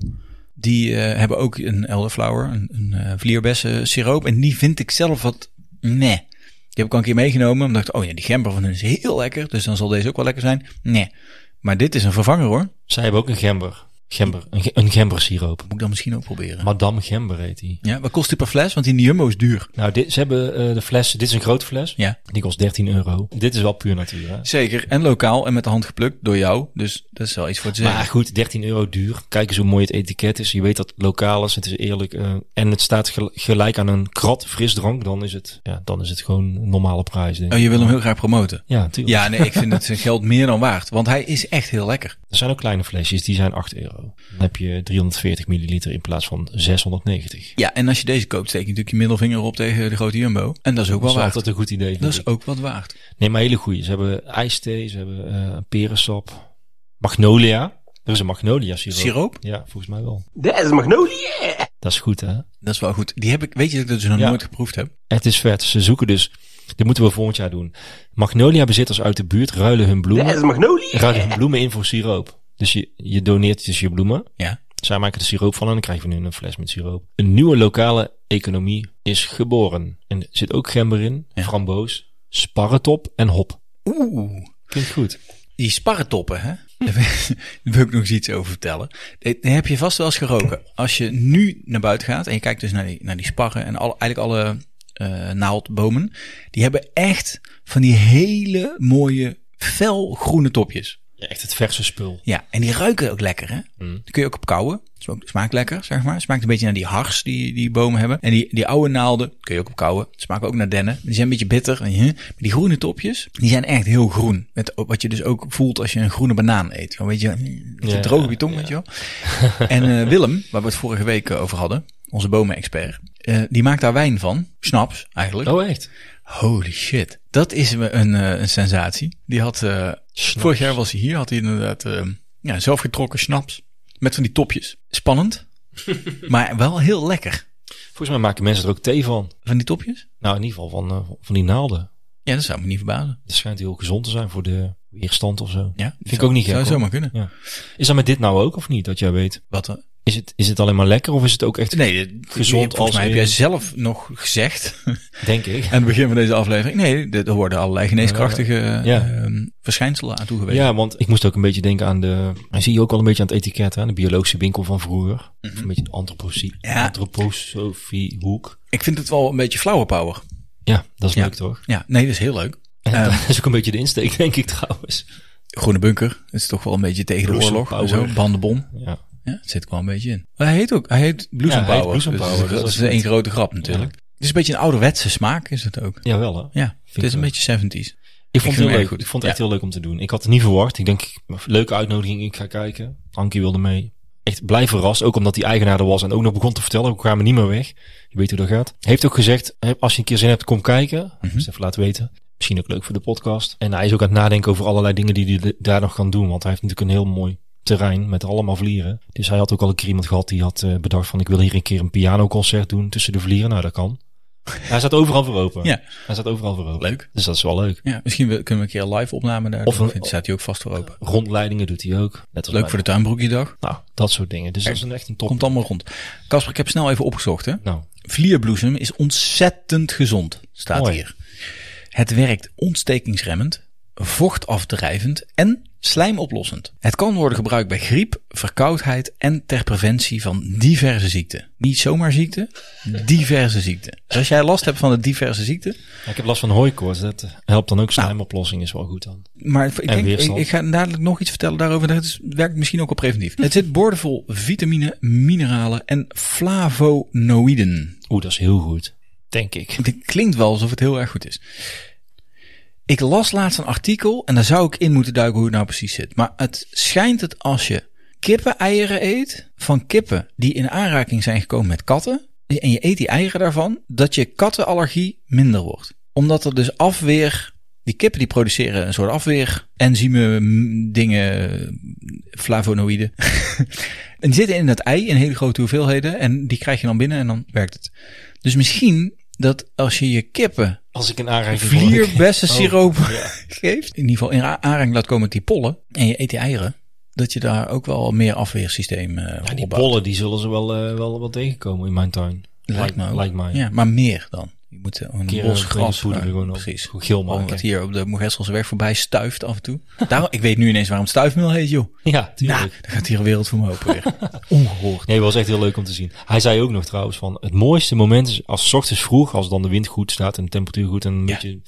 [SPEAKER 1] Die eh, hebben ook een elderflower, een, een eh, vlierbessen siroop. En die vind ik zelf wat nee. Die heb ik al een keer meegenomen. Omdat ik dacht, oh ja, die gember van hun is heel lekker. Dus dan zal deze ook wel lekker zijn. Nee. Maar dit is een vervanger hoor. Moet
[SPEAKER 3] Zij hebben ook een gember. Gember. Een, ge- een gember siroop.
[SPEAKER 1] ik dan misschien ook proberen.
[SPEAKER 3] Madame Gember heet die.
[SPEAKER 1] Ja, wat kost die per fles? Want die in de Jumbo is duur.
[SPEAKER 3] Nou, dit, ze hebben eh, de fles. Dit is een grote fles.
[SPEAKER 1] Ja.
[SPEAKER 3] Die kost 13 euro. Dit is wel puur natuur, hè?
[SPEAKER 1] Zeker. En lokaal en met de hand geplukt door jou. Dus dat is wel iets voor te zeggen.
[SPEAKER 3] Maar goed, 13 euro duur. Kijk eens hoe mooi het etiket is. Je weet dat het lokaal is. Het is eerlijk. eh, en het staat gel- gelijk aan een krat frisdrank. Dan is het, ja, dan is het gewoon een normale prijs. Denk ik.
[SPEAKER 1] Oh, je wil hem heel graag promoten.
[SPEAKER 3] Ja, natuurlijk.
[SPEAKER 1] Ja, nee, ik vind het zijn geld meer dan waard. Want hij is echt heel lekker.
[SPEAKER 3] Er zijn ook kleine flesjes. Die zijn 8 euro. Dan heb je 340 milliliter in plaats van 690.
[SPEAKER 1] Ja, en als je deze koopt, steek je natuurlijk je middelvinger op tegen de grote Jumbo. En dat is ook wel
[SPEAKER 3] Dat is
[SPEAKER 1] waard.
[SPEAKER 3] altijd een goed idee.
[SPEAKER 1] Dat
[SPEAKER 3] vind
[SPEAKER 1] is
[SPEAKER 3] ik.
[SPEAKER 1] ook wat waard.
[SPEAKER 3] Nee, maar hele goeie. Ze hebben ijsthee, ze hebben eh perensap, magnolia. Er is een magnolia siroop.
[SPEAKER 1] Siroop?
[SPEAKER 3] Ja, volgens mij wel.
[SPEAKER 4] Dat is magnolia.
[SPEAKER 3] Dat is goed, hè?
[SPEAKER 1] Dat is wel goed. Die heb ik, weet je dat ik dat dus nog
[SPEAKER 3] Ja.
[SPEAKER 1] nooit geproefd heb?
[SPEAKER 3] Het is vet. Ze zoeken dus... Dit moeten we volgend jaar doen. Magnolia-bezitters uit de buurt ruilen hun
[SPEAKER 4] Dat
[SPEAKER 3] bloemen,
[SPEAKER 4] is magnolia.
[SPEAKER 3] ruilen hun bloemen in voor siroop. Dus je, je doneert dus je bloemen.
[SPEAKER 1] Ja.
[SPEAKER 3] Zij maken er siroop van en dan krijgen we nu een fles met siroop. Een nieuwe lokale economie is geboren. En er zit ook gember in, framboos, sparretop en hop.
[SPEAKER 1] Oeh.
[SPEAKER 3] Klinkt goed.
[SPEAKER 1] Die sparretoppen, hè? Daar wil- Daar wil ik nog eens iets over vertellen. Dit heb je vast wel eens geroken. Als je nu naar buiten gaat en je kijkt dus naar die, naar die sparren en alle, eigenlijk alle eh, naaldbomen. Die hebben echt van die hele mooie felgroene topjes.
[SPEAKER 3] Ja, echt het verse spul.
[SPEAKER 1] Ja, en die ruiken ook lekker, hè?
[SPEAKER 3] Mm.
[SPEAKER 1] Die kun je ook op kouwen. Smaakt, smaakt lekker, zeg maar. Smaakt een beetje naar die hars die die bomen hebben. En die, die oude naalden kun je ook op kouwen. Smaken ook naar dennen. Die zijn een beetje bitter. en, hè. Maar die groene topjes, die zijn echt heel groen. Met, wat je dus ook voelt als je een groene banaan eet. Zo, weet je, een beetje
[SPEAKER 3] Ja,
[SPEAKER 1] droog op je tong,
[SPEAKER 3] ja.
[SPEAKER 1] weet je wel. En eh, Willem, waar we het vorige week eh, over hadden, onze bomen-expert, eh, die maakt daar wijn van. Snaps, eigenlijk.
[SPEAKER 3] Oh, echt?
[SPEAKER 1] Holy shit. Dat is me een, eh, een sensatie. Die had, eh,
[SPEAKER 3] Snaps.
[SPEAKER 1] vorig jaar was hij hier, had hij inderdaad eh, ja, zelfgetrokken snaps. Met van die topjes. Spannend, maar wel heel lekker.
[SPEAKER 3] Volgens mij maken mensen er ook thee van.
[SPEAKER 1] Van die topjes?
[SPEAKER 3] Nou, in ieder geval van, eh, van die naalden.
[SPEAKER 1] Ja, dat zou me niet verbazen.
[SPEAKER 3] Het schijnt heel gezond te zijn voor de weerstand of zo.
[SPEAKER 1] Ja,
[SPEAKER 3] Vind ik ook niet gek.
[SPEAKER 1] Zou
[SPEAKER 3] hoor.
[SPEAKER 1] zomaar kunnen.
[SPEAKER 3] Ja. Is dat met dit nou ook of niet, dat jij weet?
[SPEAKER 1] Wat, dan?
[SPEAKER 3] Is het, is het alleen maar lekker of is het ook echt,
[SPEAKER 1] nee, dit-
[SPEAKER 3] Gezond
[SPEAKER 1] volgens
[SPEAKER 3] als
[SPEAKER 1] mij heb
[SPEAKER 3] in-
[SPEAKER 1] jij zelf nog gezegd
[SPEAKER 3] denk ik?
[SPEAKER 1] aan het begin van deze aflevering. Nee, er worden allerlei geneeskrachtige
[SPEAKER 3] Ja.
[SPEAKER 1] ehm, verschijnselen aan toegewezen.
[SPEAKER 3] Ja, want ik moest ook een beetje denken aan de... Hij zie je ook al een beetje aan het etiket, hè? De biologische winkel van vroeger. Of Een beetje de antroposofie,
[SPEAKER 1] Mhm. Ja.
[SPEAKER 3] antroposofie hoek.
[SPEAKER 1] Ik vind het wel een beetje flower power.
[SPEAKER 3] Ja, dat is
[SPEAKER 1] Ja. Ehm.
[SPEAKER 3] leuk toch?
[SPEAKER 1] Ja, nee, dat is heel leuk.
[SPEAKER 3] En dat is ook een beetje de insteek, denk ik trouwens.
[SPEAKER 1] Groene bunker. Dat is toch wel een beetje tegen de
[SPEAKER 3] Bloesem
[SPEAKER 1] oorlog. en Zo,
[SPEAKER 3] Power.
[SPEAKER 1] bandenbom.
[SPEAKER 3] Ja.
[SPEAKER 1] Ja, het zit wel een beetje in. Maar hij heet ook, hij heet
[SPEAKER 3] Ja, hij
[SPEAKER 1] Bloesempower.
[SPEAKER 3] heet Bloesempower, dus
[SPEAKER 1] dat
[SPEAKER 3] dat
[SPEAKER 1] is
[SPEAKER 3] is
[SPEAKER 1] een
[SPEAKER 3] goed.
[SPEAKER 1] grote grap natuurlijk. Het is een beetje een ouderwetse smaak, is het ook.
[SPEAKER 3] Jawel hè?
[SPEAKER 1] Ja, het is
[SPEAKER 3] ik
[SPEAKER 1] een
[SPEAKER 3] wel.
[SPEAKER 1] beetje 70s.
[SPEAKER 3] Ik vond
[SPEAKER 1] vind
[SPEAKER 3] het
[SPEAKER 1] hem
[SPEAKER 3] heel
[SPEAKER 1] erg
[SPEAKER 3] leuk.
[SPEAKER 1] goed.
[SPEAKER 3] Ik vond het echt
[SPEAKER 1] Ja.
[SPEAKER 3] heel leuk om te doen. Ik had het niet verwacht. Ik denk, leuke uitnodiging. Ik ga kijken. Ankie wilde mee. Echt blij verrast. Ook omdat die eigenaar er was en ook nog begon te vertellen. We kwamen niet meer weg. Je weet hoe dat gaat. Hij heeft ook gezegd, hè, als je een keer zin hebt, kom kijken.
[SPEAKER 1] Mhm.
[SPEAKER 3] Dus even laten weten. Misschien ook leuk voor de podcast. En hij is ook aan het nadenken over allerlei dingen die hij d- daar nog kan doen. Want hij heeft natuurlijk een heel mooi terrein met allemaal vlieren. Dus hij had ook al een keer iemand gehad die had eh, bedacht van... ik wil hier een keer een pianoconcert doen tussen de vlieren. Nou, dat kan. Hij staat overal voor open.
[SPEAKER 1] Ja.
[SPEAKER 3] Hij staat overal voor open.
[SPEAKER 1] Leuk.
[SPEAKER 3] Dus dat is wel leuk.
[SPEAKER 1] Ja, misschien we- kunnen we een keer een live opname daar
[SPEAKER 3] Of
[SPEAKER 1] doen.
[SPEAKER 3] een-
[SPEAKER 1] Vindt- staat hij ook vast voor open.
[SPEAKER 3] Rondleidingen doet hij ook. Net als
[SPEAKER 1] Leuk
[SPEAKER 3] mij.
[SPEAKER 1] voor de tuinbroekjesdag.
[SPEAKER 3] Nou, dat soort dingen. Dus dat is een echt een top.
[SPEAKER 1] Komt allemaal rond. Casper, ik heb snel even opgezocht. Hè.
[SPEAKER 3] Nou,
[SPEAKER 1] Vlierbloesem is ontzettend gezond, staat
[SPEAKER 3] Mooi.
[SPEAKER 1] hier. Het werkt ontstekingsremmend, vochtafdrijvend en slijmoplossend. Het kan worden gebruikt bij griep, verkoudheid en ter preventie van diverse ziekten. Niet zomaar ziekten, diverse ziekten. Dus als jij last hebt van de diverse ziekten,
[SPEAKER 3] ja, ik heb last van hooikoorts. Dat helpt dan ook.
[SPEAKER 1] Nou.
[SPEAKER 3] Slijmoplossing is wel goed dan.
[SPEAKER 1] maar ik, denk, ik,
[SPEAKER 3] weerstand.
[SPEAKER 1] ik ga dadelijk nog iets vertellen daarover. Dat is, werkt misschien ook al preventief. Het zit boordevol vitamine, mineralen en flavonoïden.
[SPEAKER 3] Oeh, dat is heel goed. Denk ik.
[SPEAKER 1] Dit klinkt wel alsof het heel erg goed is. Ik las laatst een artikel en daar zou ik in moeten duiken hoe het nou precies zit. Maar het schijnt het als je kippen eieren eet van kippen die in aanraking zijn gekomen met katten, en je eet die eieren daarvan, dat je kattenallergie minder wordt. Omdat er dus afweer, die kippen die produceren een soort afweer, enzymen, m, dingen, flavonoïden. en die zitten in dat ei in hele grote hoeveelheden en die krijg je dan binnen en dan werkt het. Dus misschien dat als je je kippen
[SPEAKER 3] Als ik een aanraking voor-
[SPEAKER 1] vier bessen siroop
[SPEAKER 3] ja.
[SPEAKER 1] geeft, in ieder geval in a- aanraking laat komen met die pollen en je eet die eieren, dat je daar ook wel meer afweersysteem eh
[SPEAKER 3] Ja, die
[SPEAKER 1] opbouwt.
[SPEAKER 3] bollen die zullen ze wel, eh, wel, wel tegenkomen in mijn tuin.
[SPEAKER 1] Lijkt me ook.
[SPEAKER 3] Lijkt mij.
[SPEAKER 1] Ja, maar meer dan. Je moet eh, een
[SPEAKER 3] Keer een
[SPEAKER 1] bos
[SPEAKER 3] beetje
[SPEAKER 1] gras
[SPEAKER 3] poeder
[SPEAKER 1] eh,
[SPEAKER 3] gewoon op.
[SPEAKER 1] Precies.
[SPEAKER 3] Gewoon geel
[SPEAKER 1] Gewoon
[SPEAKER 3] maken.
[SPEAKER 1] wat hier op de Moergesselse weg voorbij stuift af en toe. Daarom, ik weet nu ineens waarom het stuifmeel heet, joh.
[SPEAKER 3] Ja, tuurlijk.
[SPEAKER 1] Nou, dan gaat hier een wereld voor me open weer. Ongehoord.
[SPEAKER 3] Nee, was echt heel leuk om te zien. Hij zei ook nog trouwens van, het mooiste moment is als 's ochtends vroeg, als dan de wind goed staat en de temperatuur goed en een
[SPEAKER 1] Ja.
[SPEAKER 3] beetje...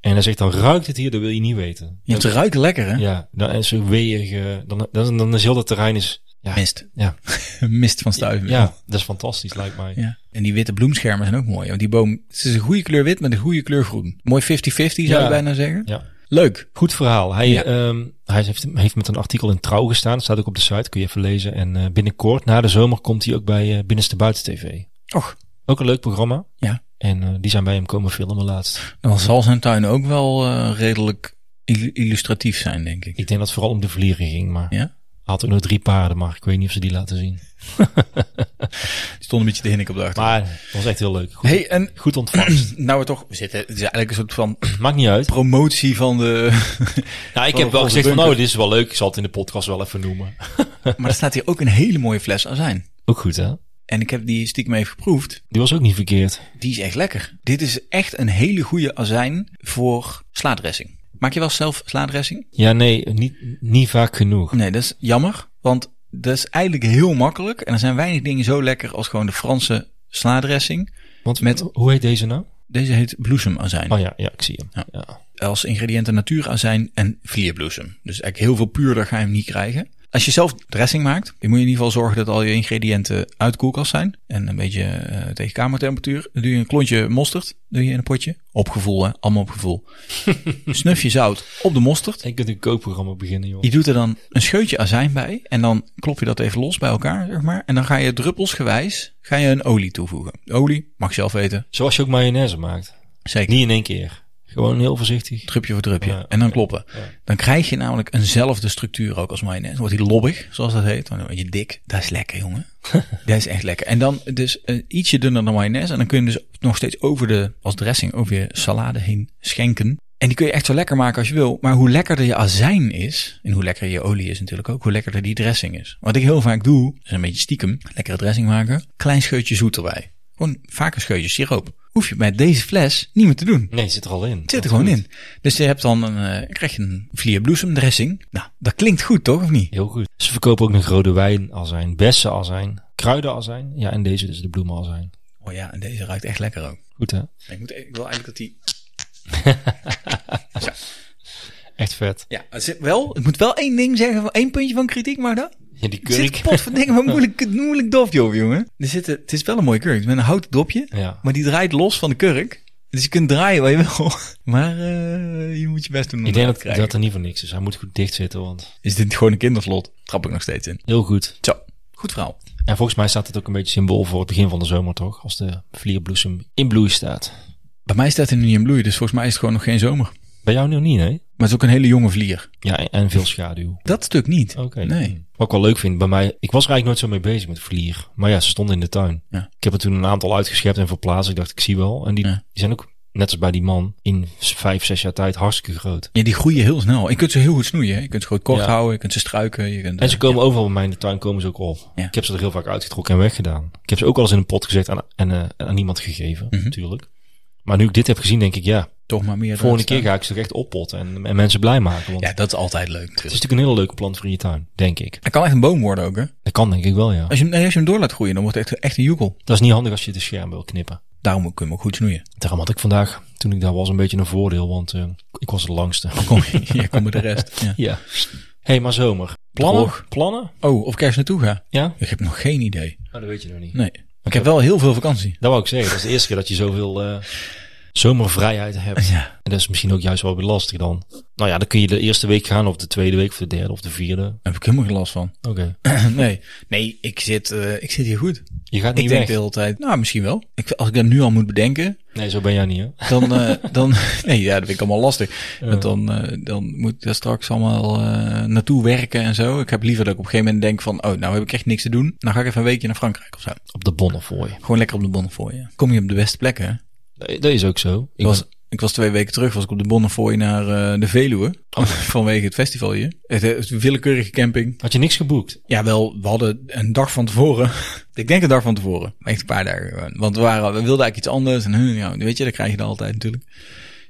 [SPEAKER 3] En hij zegt, dan ruikt het hier, dat wil je niet weten.
[SPEAKER 1] Ja, het ruikt lekker, hè?
[SPEAKER 3] Ja, dan is er weeg, eh, dan, dan, dan is heel dat terrein is... Ja,
[SPEAKER 1] Mist.
[SPEAKER 3] Ja.
[SPEAKER 1] Mist van stuifmeel.
[SPEAKER 3] ja, dat is fantastisch, lijkt mij.
[SPEAKER 1] Ja. En die witte bloemschermen zijn ook mooi. Want die boom, het is een goede kleur wit met een goede kleur groen. Mooi 50-50 zou
[SPEAKER 3] Ja.
[SPEAKER 1] je bijna zeggen.
[SPEAKER 3] Ja.
[SPEAKER 1] Leuk.
[SPEAKER 3] Goed verhaal. Hij,
[SPEAKER 1] Ja.
[SPEAKER 3] ehm, hij heeft, heeft met een artikel in Trouw gestaan. Staat ook op de site, kun je even lezen. En eh, binnenkort, na de zomer, komt hij ook bij eh Binnenste Buiten TV.
[SPEAKER 1] Och,
[SPEAKER 3] Ook een leuk programma.
[SPEAKER 1] Ja.
[SPEAKER 3] En eh, die zijn bij hem komen filmen laatst.
[SPEAKER 1] dan zal zijn tuin ook wel eh, redelijk il- illustratief zijn, denk ik.
[SPEAKER 3] Ik denk dat het vooral om de vlieren ging. Maar hij
[SPEAKER 1] Ja?
[SPEAKER 3] had ook nog drie paarden, maar ik weet niet of ze die laten zien.
[SPEAKER 1] Die stond een beetje te hinnik op de achtergrond.
[SPEAKER 3] Maar het was echt heel leuk. Goed,
[SPEAKER 1] Hey, en
[SPEAKER 3] goed ontvangst.
[SPEAKER 1] nou we toch, we zitten, het is eigenlijk een soort van
[SPEAKER 3] Maakt niet uit.
[SPEAKER 1] promotie van de.
[SPEAKER 3] Nou, ik
[SPEAKER 1] Van
[SPEAKER 3] heb wel
[SPEAKER 1] onze
[SPEAKER 3] gezegd van, nou,
[SPEAKER 1] bunker.
[SPEAKER 3] dit is wel leuk. Ik zal het in de podcast wel even noemen.
[SPEAKER 1] maar er staat hier ook een hele mooie fles azijn.
[SPEAKER 3] Ook goed, hè?
[SPEAKER 1] En ik heb die stiekem even geproefd.
[SPEAKER 3] Die was ook niet verkeerd.
[SPEAKER 1] Die is echt lekker. Dit is echt een hele goede azijn voor slaadressing. Maak je wel zelf slaadressing?
[SPEAKER 3] Ja, nee, niet, niet vaak genoeg.
[SPEAKER 1] Nee, dat is jammer. Want dat is eigenlijk heel makkelijk. En er zijn weinig dingen zo lekker als gewoon de Franse slaadressing.
[SPEAKER 3] Want
[SPEAKER 1] Met-
[SPEAKER 3] hoe heet deze nou?
[SPEAKER 1] Deze heet bloesemazijn.
[SPEAKER 3] Oh ja, ja, ik zie hem. ja.
[SPEAKER 1] als ingrediënten natuurazijn en vlierbloesem. Dus eigenlijk heel veel puurder ga je hem niet krijgen. Als je zelf dressing maakt, dan moet je in ieder geval zorgen dat al je ingrediënten uit de koelkast zijn. En een beetje eh, tegen kamertemperatuur. Dan doe je een klontje mosterd doe je in een potje. Op gevoel, hè? Allemaal op gevoel. Snufje zout op de mosterd.
[SPEAKER 3] Ik kunt een kookprogramma beginnen, joh.
[SPEAKER 1] Je doet er dan een scheutje azijn bij. En dan klop je dat even los bij elkaar, zeg maar. En dan ga je druppelsgewijs ga je een olie toevoegen. Olie, mag je zelf weten.
[SPEAKER 3] Zoals je ook mayonaise maakt.
[SPEAKER 1] Zeker.
[SPEAKER 3] Niet in één keer. Gewoon heel voorzichtig.
[SPEAKER 1] Drupje voor drupje.
[SPEAKER 3] Ja,
[SPEAKER 1] en dan
[SPEAKER 3] ja,
[SPEAKER 1] kloppen.
[SPEAKER 3] ja.
[SPEAKER 1] Dan krijg je namelijk eenzelfde structuur ook als mayonaise. Dan wordt die lobbig, zoals dat heet. Dan word je dik. Dat is lekker, jongen. dat is echt lekker. En dan dus eh, ietsje dunner dan mayonaise. En dan kun je dus nog steeds over de, als dressing, over je salade heen schenken. En die kun je echt zo lekker maken als je wil. Maar hoe lekkerder je azijn is, en hoe lekker je olie is natuurlijk ook, hoe lekkerder die dressing is. Wat ik heel vaak doe, is een beetje stiekem, lekkere dressing maken, klein scheutje zoet erbij. Gewoon vaak een scheutje siroop. Hoef je bij deze fles niet meer te doen.
[SPEAKER 3] Nee, het zit er al in.
[SPEAKER 1] Het zit er gewoon in. Dus je hebt dan een, eh, krijg je een vlierbloesemdressing. Nou, dat klinkt goed toch, of niet?
[SPEAKER 3] Heel goed. Ze verkopen ook nog rode wijnazijn, bessenazijn, kruidenazijn. Ja, en deze dus de bloemenazijn.
[SPEAKER 1] Oh ja, en deze ruikt echt lekker ook.
[SPEAKER 3] Goed, hè?
[SPEAKER 1] Ik, moet, ik wil eigenlijk dat die...
[SPEAKER 3] Echt vet.
[SPEAKER 1] Ja, het zit wel, ik moet wel één ding zeggen, één puntje van kritiek, maar dat...
[SPEAKER 3] Ja, die
[SPEAKER 1] Het zit
[SPEAKER 3] kurk.
[SPEAKER 1] pot van dingen, maar moeilijk, moeilijk dopje op, jongen. Er zitten, het is wel een mooie kurk, met een houten dopje,
[SPEAKER 3] Ja.
[SPEAKER 1] maar die draait los van de kurk. Dus je kunt draaien waar je wil, maar eh, je moet je best doen om
[SPEAKER 3] Ik denk
[SPEAKER 1] eruit
[SPEAKER 3] dat
[SPEAKER 1] te krijgen.
[SPEAKER 3] dat er niet voor niks is. Hij moet goed dicht zitten, want...
[SPEAKER 1] Is dit gewoon een kinderslot? Trap ik nog steeds in.
[SPEAKER 3] Heel goed.
[SPEAKER 1] Zo, goed verhaal.
[SPEAKER 3] En volgens mij staat het ook een beetje symbool voor het begin van de zomer, toch? Als de vlierbloesem in bloei staat.
[SPEAKER 1] Bij mij staat hij nu niet in bloei, dus volgens mij is het gewoon nog geen zomer.
[SPEAKER 3] Bij jou nu niet, hè?
[SPEAKER 1] Maar het is ook een hele jonge vlier.
[SPEAKER 3] Ja, en- en veel schaduw.
[SPEAKER 1] Dat stuk niet.
[SPEAKER 3] Oké.
[SPEAKER 1] Nee.
[SPEAKER 3] Wat ik wel leuk vind bij mij, ik was er eigenlijk nooit zo mee bezig met vlier. Maar ja, ze stonden in de tuin.
[SPEAKER 1] Ja.
[SPEAKER 3] Ik heb er toen een aantal uitgeschept en verplaatst. Ik dacht, ik zie wel. En die,
[SPEAKER 1] Ja.
[SPEAKER 3] die zijn ook, net als bij die man, in s- vijf, zes jaar tijd hartstikke groot.
[SPEAKER 1] Ja, die groeien heel snel. Je kunt ze heel goed snoeien. hè. Je kunt ze gewoon kort
[SPEAKER 3] Ja.
[SPEAKER 1] houden. Je kunt ze struiken. Je kunt,
[SPEAKER 3] En ze komen overal bij mij in de tuin, komen ze ook op.
[SPEAKER 1] Ja.
[SPEAKER 3] Ik heb ze er heel vaak uitgetrokken en weggedaan. Ik heb ze ook al eens in een pot gezet aan, en, eh, aan iemand gegeven,
[SPEAKER 1] Mhm.
[SPEAKER 3] natuurlijk. Maar nu ik dit heb gezien, denk ik, ja,
[SPEAKER 1] toch maar meer.
[SPEAKER 3] volgende
[SPEAKER 1] dan-
[SPEAKER 3] keer ga ik ze echt oppotten en, en mensen blij maken. Want
[SPEAKER 1] Ja, dat is altijd leuk.
[SPEAKER 3] het
[SPEAKER 1] natuurlijk.
[SPEAKER 3] is natuurlijk een hele leuke plant voor in je tuin, denk ik.
[SPEAKER 1] Hij kan echt een boom worden ook, hè?
[SPEAKER 3] Dat kan denk ik wel, ja.
[SPEAKER 1] Als je, hem- nee, als je hem door laat groeien, dan wordt het echt, echt een joekel.
[SPEAKER 3] Dat is niet handig als je de scherm wil knippen.
[SPEAKER 1] Daarom kun je hem ook goed snoeien.
[SPEAKER 3] Daarom had ik vandaag, toen ik daar was, een beetje een voordeel, want eh, ik was het langste.
[SPEAKER 1] Oh, Kom, hier komen de rest. Ja.
[SPEAKER 3] ja. hey, maar zomer.
[SPEAKER 1] Plannen?
[SPEAKER 3] Droog. Plannen?
[SPEAKER 1] Oh, of ik ergens naartoe ga?
[SPEAKER 3] Ja?
[SPEAKER 1] Ik heb nog geen idee.
[SPEAKER 3] Nou, dat weet je nog niet.
[SPEAKER 1] Nee. Maar Ik heb wel heel veel vakantie.
[SPEAKER 3] Dat wou ik zeggen. Dat is de eerste keer dat je zoveel eh, zomervrijheid hebt.
[SPEAKER 1] Ja.
[SPEAKER 3] En dat is misschien ook juist wel weer lastig dan. Nou ja, dan kun je de eerste week gaan, of de tweede week, of de derde, of de vierde.
[SPEAKER 1] Daar heb ik helemaal geen last van.
[SPEAKER 3] Oké.
[SPEAKER 1] nee, nee ik, zit, eh, ik zit hier goed.
[SPEAKER 3] Je gaat
[SPEAKER 1] Ik
[SPEAKER 3] niet
[SPEAKER 1] denk
[SPEAKER 3] weg.
[SPEAKER 1] de hele tijd, nou misschien wel. Ik, als ik dat nu al moet bedenken,
[SPEAKER 3] Nee, zo ben jij niet, hè?
[SPEAKER 1] dan, eh, dan nee, ja, dat vind ik allemaal lastig. Want dan, eh, dan moet ik daar straks allemaal eh, naartoe werken en zo. Ik heb liever dat ik op een gegeven moment denk van, oh, nou heb ik echt niks te doen. Nou ga ik even een weekje naar Frankrijk of zo.
[SPEAKER 3] Op de Bonnefoy.
[SPEAKER 1] Gewoon lekker op de Bonnefoy. hè. Kom je op de beste plekken. hè?
[SPEAKER 3] Nee, Dat is ook zo. Ik
[SPEAKER 1] Ik was, ik was twee weken terug, was ik op de Bonnefoy naar eh, de Veluwe. Vanwege het festival hier. Het, het willekeurige camping.
[SPEAKER 3] ben- Had je niks geboekt?
[SPEAKER 1] Ja, wel, we hadden een dag van tevoren. ik denk een dag van tevoren. Maar echt een paar dagen. gewoon. Want we, waren, we wilden eigenlijk iets anders. En huh, ja, weet je, dat krijg je dan altijd natuurlijk.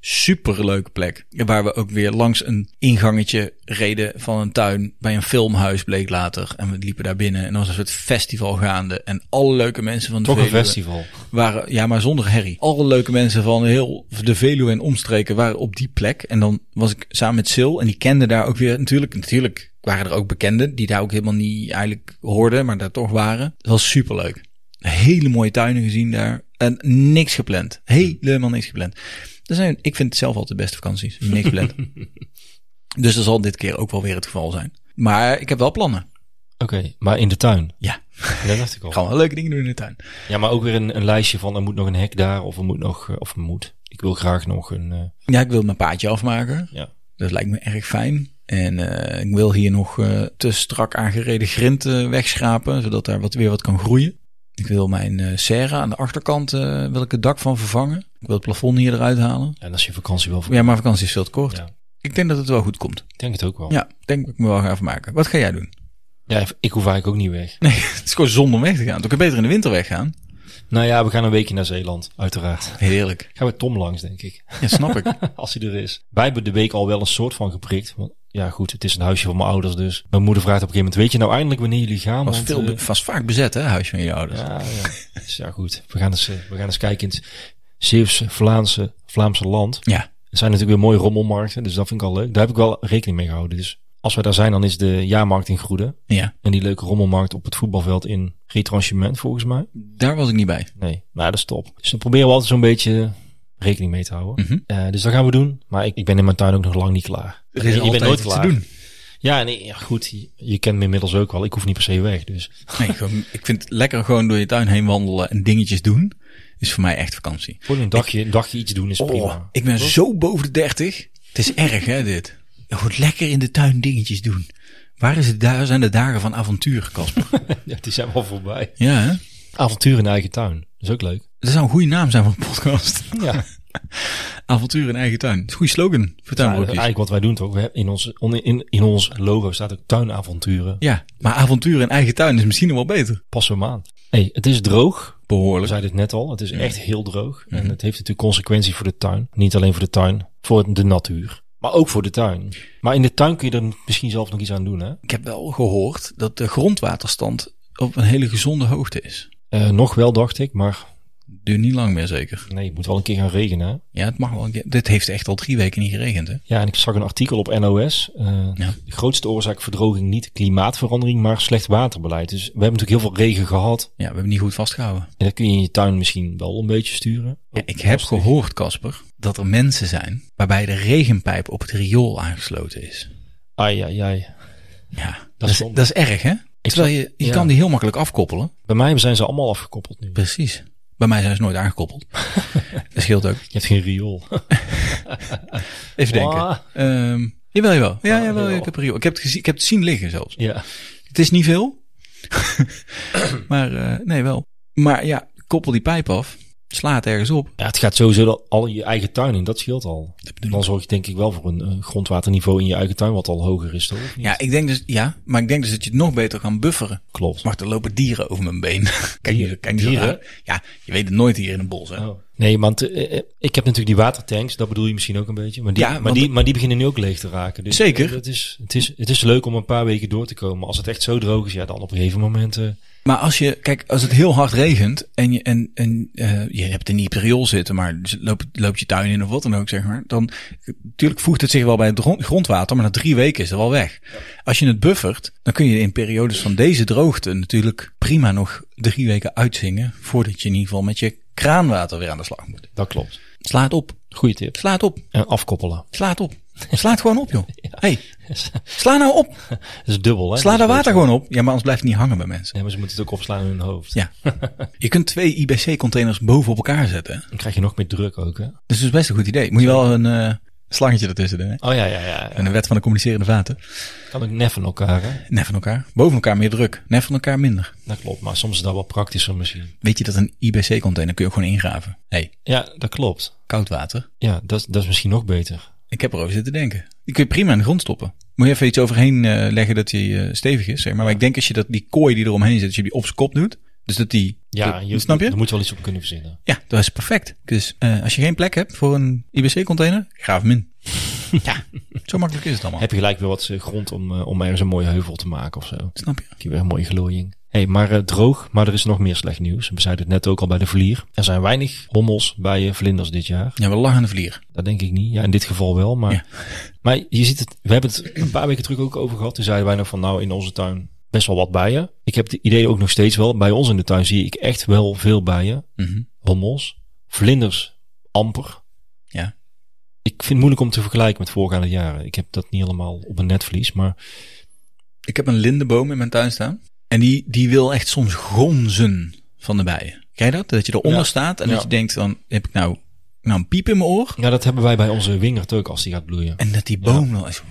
[SPEAKER 1] Superleuke plek. Waar we ook weer langs een ingangetje reden van een tuin. Bij een filmhuis bleek later. En we liepen daar binnen. En er was een soort festival gaande. En alle leuke mensen van de
[SPEAKER 3] Toch een
[SPEAKER 1] Veluwe
[SPEAKER 3] festival.
[SPEAKER 1] waren, ja, maar zonder herrie. Alle leuke mensen van heel de Veluwe en omstreken waren op die plek. En dan was ik samen met Sil en die kende daar ook weer, natuurlijk, natuurlijk waren er ook bekenden die daar ook helemaal niet eigenlijk hoorden, maar daar toch waren. Het was superleuk. Hele mooie tuinen gezien daar en niks gepland. Helemaal niks gepland. Dat zijn, ik vind het zelf altijd de beste vakanties. Niks gepland. dus dat zal dit keer ook wel weer het geval zijn. Maar ik heb wel plannen.
[SPEAKER 3] Oké, maar in de tuin.
[SPEAKER 1] Ja,
[SPEAKER 3] Dat dacht ik
[SPEAKER 1] ik
[SPEAKER 3] al.
[SPEAKER 1] ga wel leuke dingen doen in de tuin.
[SPEAKER 3] Ja, maar ook weer een, een lijstje van er moet nog een hek daar of er moet nog, eh, of er moet. Ik wil graag nog een, eh,
[SPEAKER 1] Ja, ik wil mijn paadje afmaken.
[SPEAKER 3] ja.
[SPEAKER 1] Dat lijkt me erg fijn. En eh, ik wil hier nog eh, te strak aangereden grind eh, wegschrapen, zodat daar wat, weer wat kan groeien. Ik wil mijn eh serra aan de achterkant, eh, wil ik het dak van vervangen. Ik wil het plafond hier eruit halen.
[SPEAKER 3] En als je vakantie wel voor...
[SPEAKER 1] Ja, maar vakantie is veel te kort.
[SPEAKER 3] Ja. Oh.
[SPEAKER 1] Ik denk dat het wel goed komt.
[SPEAKER 3] Ik denk het ook wel. Ja.
[SPEAKER 1] Ja, ik denk dat ik me wel ga afmaken. Wat ga jij doen?
[SPEAKER 3] ik hoef eigenlijk ook niet weg.
[SPEAKER 1] Nee, het is gewoon zonde om weg te gaan. Dan kan je beter in de winter weggaan.
[SPEAKER 3] Nou ja, we gaan een weekje naar Zeeland, uiteraard.
[SPEAKER 1] Heerlijk.
[SPEAKER 3] Gaan we Tom langs, denk ik.
[SPEAKER 1] Ja, snap ik.
[SPEAKER 3] als hij er is. Wij hebben de week al wel een soort van geprikt. Want ja, goed, het is een huisje van mijn ouders, dus. Mijn moeder vraagt op een gegeven moment, weet je nou eindelijk wanneer jullie gaan?
[SPEAKER 1] Was,
[SPEAKER 3] Want,
[SPEAKER 1] veel,
[SPEAKER 3] eh,
[SPEAKER 1] be- was vaak bezet, hè, huis van je ouders.
[SPEAKER 3] Ja, ja. Dus ja, goed. We gaan eens, eh, we gaan eens kijken in het Zeeuwse, Vlaamse, Vlaamse land.
[SPEAKER 1] Ja.
[SPEAKER 3] Er zijn natuurlijk weer mooie rommelmarkten, dus dat vind ik al leuk. Daar heb ik wel rekening mee gehouden. Dus als wij daar zijn, dan is de jaarmarkt in Groede.
[SPEAKER 1] ja.
[SPEAKER 3] En die leuke rommelmarkt op het voetbalveld in retranchement, volgens mij.
[SPEAKER 1] Daar was ik niet bij.
[SPEAKER 3] Nee, nou dat is top. Dus dan proberen we altijd zo'n beetje rekening mee te houden.
[SPEAKER 1] Mhm.
[SPEAKER 3] Eh, dus dat gaan we doen. Maar ik, ik ben in mijn tuin ook nog lang niet klaar.
[SPEAKER 1] Er is
[SPEAKER 3] je
[SPEAKER 1] altijd
[SPEAKER 3] bent nooit
[SPEAKER 1] iets
[SPEAKER 3] klaar.
[SPEAKER 1] te doen.
[SPEAKER 3] Ja, nee, ja, goed. Je, je kent me inmiddels ook wel. Ik hoef niet per se weg, dus.
[SPEAKER 1] Nee, gewoon- ik vind het lekker gewoon door je tuin heen wandelen en dingetjes doen. Is voor mij echt vakantie.
[SPEAKER 3] Voor een dagje, een dagje iets doen is prima.
[SPEAKER 1] Oh. ik ben zo boven de 30. Het is erg, hè, dit. Je moet lekker in de tuin dingetjes doen. Waar is het, daar zijn de dagen van avontuur, Casper?
[SPEAKER 3] Ja, die zijn wel voorbij.
[SPEAKER 1] ja, hè?
[SPEAKER 3] Avontuur in eigen tuin. Dat is ook leuk.
[SPEAKER 1] Dat zou een goede naam zijn voor een podcast.
[SPEAKER 3] Ja,
[SPEAKER 1] Avontuur in eigen tuin. Dat is een goede slogan voor tuinbroekjes. Ja,
[SPEAKER 3] eigenlijk wat wij doen toch. We hebben in, ons, on- in, in ons logo staat ook tuinavonturen.
[SPEAKER 1] maar avontuur in eigen tuin is misschien nog wel beter.
[SPEAKER 3] Pas hem aan. hey, het is droog. We
[SPEAKER 1] Behoorlijk.
[SPEAKER 3] zeiden het net al. Het is echt heel droog. En het heeft natuurlijk consequenties voor de tuin. Niet alleen voor de tuin. Voor de natuur. Maar ook voor de tuin. Maar in de tuin kun je er misschien zelf nog iets aan doen. Hè?
[SPEAKER 1] Ik heb wel gehoord dat de grondwaterstand op een hele gezonde hoogte is.
[SPEAKER 3] Eh, nog wel dacht ik. Maar
[SPEAKER 1] Duurt niet lang meer zeker.
[SPEAKER 3] nee, het moet wel een keer gaan regenen. hè?
[SPEAKER 1] Ja, het mag wel. een keer- Dit heeft echt al drie weken niet geregend, hè?
[SPEAKER 3] Ja, en ik zag een artikel op NOS. eh,
[SPEAKER 1] Ja.
[SPEAKER 3] De grootste oorzaak verdroging niet klimaatverandering, maar slecht waterbeleid. Dus we hebben natuurlijk heel veel regen gehad.
[SPEAKER 1] Ja, we hebben niet goed vastgehouden.
[SPEAKER 3] En dat kun je in je tuin misschien wel een beetje sturen.
[SPEAKER 1] ik heb gehoord, Casper, dat er mensen zijn waarbij de regenpijp op het riool aangesloten is.
[SPEAKER 3] Ai, ai, ai.
[SPEAKER 1] Ja, dat,
[SPEAKER 3] is
[SPEAKER 1] is,
[SPEAKER 3] zonde.
[SPEAKER 1] dat is erg, hè? Terwijl
[SPEAKER 3] zag-
[SPEAKER 1] je, je
[SPEAKER 3] ja.
[SPEAKER 1] kan die heel makkelijk afkoppelen.
[SPEAKER 3] Bij mij zijn ze allemaal afgekoppeld nu.
[SPEAKER 1] Precies. Bij mij zijn ze nooit aangekoppeld. dat scheelt ook.
[SPEAKER 3] Je hebt geen riool.
[SPEAKER 1] Even
[SPEAKER 3] Ah.
[SPEAKER 1] denken. Ehm jawel, jawel. Ja,
[SPEAKER 3] Ah,
[SPEAKER 1] jawel.
[SPEAKER 3] jawel.
[SPEAKER 1] Ik heb, riool. Ik, heb het gezien, ik heb het zien liggen zelfs.
[SPEAKER 3] ja.
[SPEAKER 1] Het is niet veel. maar eh, nee, wel. Maar ja, koppel die pijp af. Slaat ergens op.
[SPEAKER 3] ja, het gaat sowieso al- al in je eigen tuin in. Dat scheelt al.
[SPEAKER 1] Dat bedoel ik.
[SPEAKER 3] Dan zorg je denk ik wel voor een eh, grondwaterniveau in je eigen tuin wat al hoger is. Toch? Of niet?
[SPEAKER 1] Ja, ik denk dus, ja, maar ik denk dus dat je het nog beter kan bufferen.
[SPEAKER 3] klopt.
[SPEAKER 1] Maar er lopen dieren over mijn been. Kijk,
[SPEAKER 3] Dieren?
[SPEAKER 1] dieren? Kijk niet zo
[SPEAKER 3] Dieren?
[SPEAKER 1] raar. Ja, je weet het nooit hier in een bos. Hè?
[SPEAKER 3] Oh. Nee, want eh, eh, ik heb natuurlijk die watertanks, dat bedoel je misschien ook een beetje. Maar die,
[SPEAKER 1] Ja,
[SPEAKER 3] maar
[SPEAKER 1] want-
[SPEAKER 3] die, maar die beginnen nu ook leeg te raken. Dus
[SPEAKER 1] Zeker.
[SPEAKER 3] Het is, het, is, het is leuk om een paar weken door te komen. Als het echt zo droog is, ja, dan op een gegeven moment. eh,
[SPEAKER 1] Maar als je, kijk, als het heel hard regent en je, en, en, eh, je hebt een niet riool zitten, maar dus loopt, loopt je tuin in of wat dan ook, zeg maar. Dan, natuurlijk voegt het zich wel bij het grond- grondwater, maar na drie weken is het wel weg. Als je het buffert, dan kun je in periodes van deze droogte natuurlijk prima nog drie weken uitzingen. Voordat je in ieder geval met je kraanwater weer aan de slag moet.
[SPEAKER 3] dat klopt.
[SPEAKER 1] Sla het op.
[SPEAKER 3] Goeie tip.
[SPEAKER 1] Sla het op.
[SPEAKER 3] En afkoppelen.
[SPEAKER 1] Sla het op. Sla het gewoon op, joh. Hey, sla nou op.
[SPEAKER 3] Dat is dubbel, hè?
[SPEAKER 1] Sla
[SPEAKER 3] Oh, Dat
[SPEAKER 1] daar
[SPEAKER 3] is
[SPEAKER 1] water
[SPEAKER 3] beter.
[SPEAKER 1] gewoon op. Ja, maar anders blijft het niet hangen bij mensen.
[SPEAKER 3] Nee, maar ze moeten het ook opslaan in hun hoofd.
[SPEAKER 1] Ja. Je kunt twee IBC-containers boven op elkaar zetten.
[SPEAKER 3] Dan krijg je nog meer druk ook, hè?
[SPEAKER 1] Dus dat is best een goed idee. Moet je wel een eh, slangetje ertussen doen, hè?
[SPEAKER 3] Oh ja, ja, ja.
[SPEAKER 1] En de wet van de communicerende vaten.
[SPEAKER 3] Kan ook net van elkaar, hè?
[SPEAKER 1] Net van elkaar. Boven elkaar meer druk. Net van elkaar minder.
[SPEAKER 3] Dat klopt, maar soms is dat wel praktischer misschien.
[SPEAKER 1] Weet je dat een IBC-container kun je ook gewoon ingraven? Hé, hey,
[SPEAKER 3] Ja, dat klopt.
[SPEAKER 1] koud water.
[SPEAKER 3] Ja, dat, dat is misschien nog beter.
[SPEAKER 1] Ik heb erover zitten denken. Die kun je prima in de grond stoppen. Moet je even iets overheen eh, leggen dat die eh, stevig is, zeg maar. Maar ik denk als je dat, die kooi die eromheen zit, als je die op zijn kop doet. Dus dat die...
[SPEAKER 3] Ja,
[SPEAKER 1] dat-
[SPEAKER 3] je,
[SPEAKER 1] snap je?
[SPEAKER 3] Er moet wel iets op kunnen verzinnen.
[SPEAKER 1] Ja, dat is perfect. Dus eh, als je geen plek hebt voor een IBC-container, graaf hem in. ja, zo makkelijk is het allemaal.
[SPEAKER 3] Heb je gelijk weer wat eh, grond om, eh, om ergens een mooie heuvel te maken of zo.
[SPEAKER 1] Snap je?
[SPEAKER 3] Heb je weer een mooie glooiing. hey, maar eh, droog, maar er is nog meer slecht nieuws. We zeiden het net ook al bij de vlier. Er zijn weinig hommels bij eh, vlinders dit jaar.
[SPEAKER 1] Ja, we lachen aan de vlier.
[SPEAKER 3] Dat denk ik niet. Ja, in dit geval wel. Maar,
[SPEAKER 1] Ja.
[SPEAKER 3] maar je ziet het, we hebben het een paar weken terug ook over gehad. Toen zeiden wij nog van nou in onze tuin best wel wat bijen. Ik heb het idee ook nog steeds wel. Bij ons in de tuin zie ik echt wel veel bijen.
[SPEAKER 1] Mhm.
[SPEAKER 3] Hommels, vlinders, amper.
[SPEAKER 1] Ja.
[SPEAKER 3] Ik vind het moeilijk om te vergelijken met voorgaande jaren. Ik heb dat niet helemaal op een netvlies. Maar
[SPEAKER 1] Ik heb een lindenboom in mijn tuin staan. En die, die wil echt soms gonzen van de bijen. Ken je dat? Dat je eronder
[SPEAKER 3] Ja.
[SPEAKER 1] staat en
[SPEAKER 3] Ja.
[SPEAKER 1] dat je denkt, dan heb ik nou, nou een piep in mijn oor.
[SPEAKER 3] ja, dat hebben wij bij onze wingerd ook als die gaat bloeien.
[SPEAKER 1] En dat die boom dan is...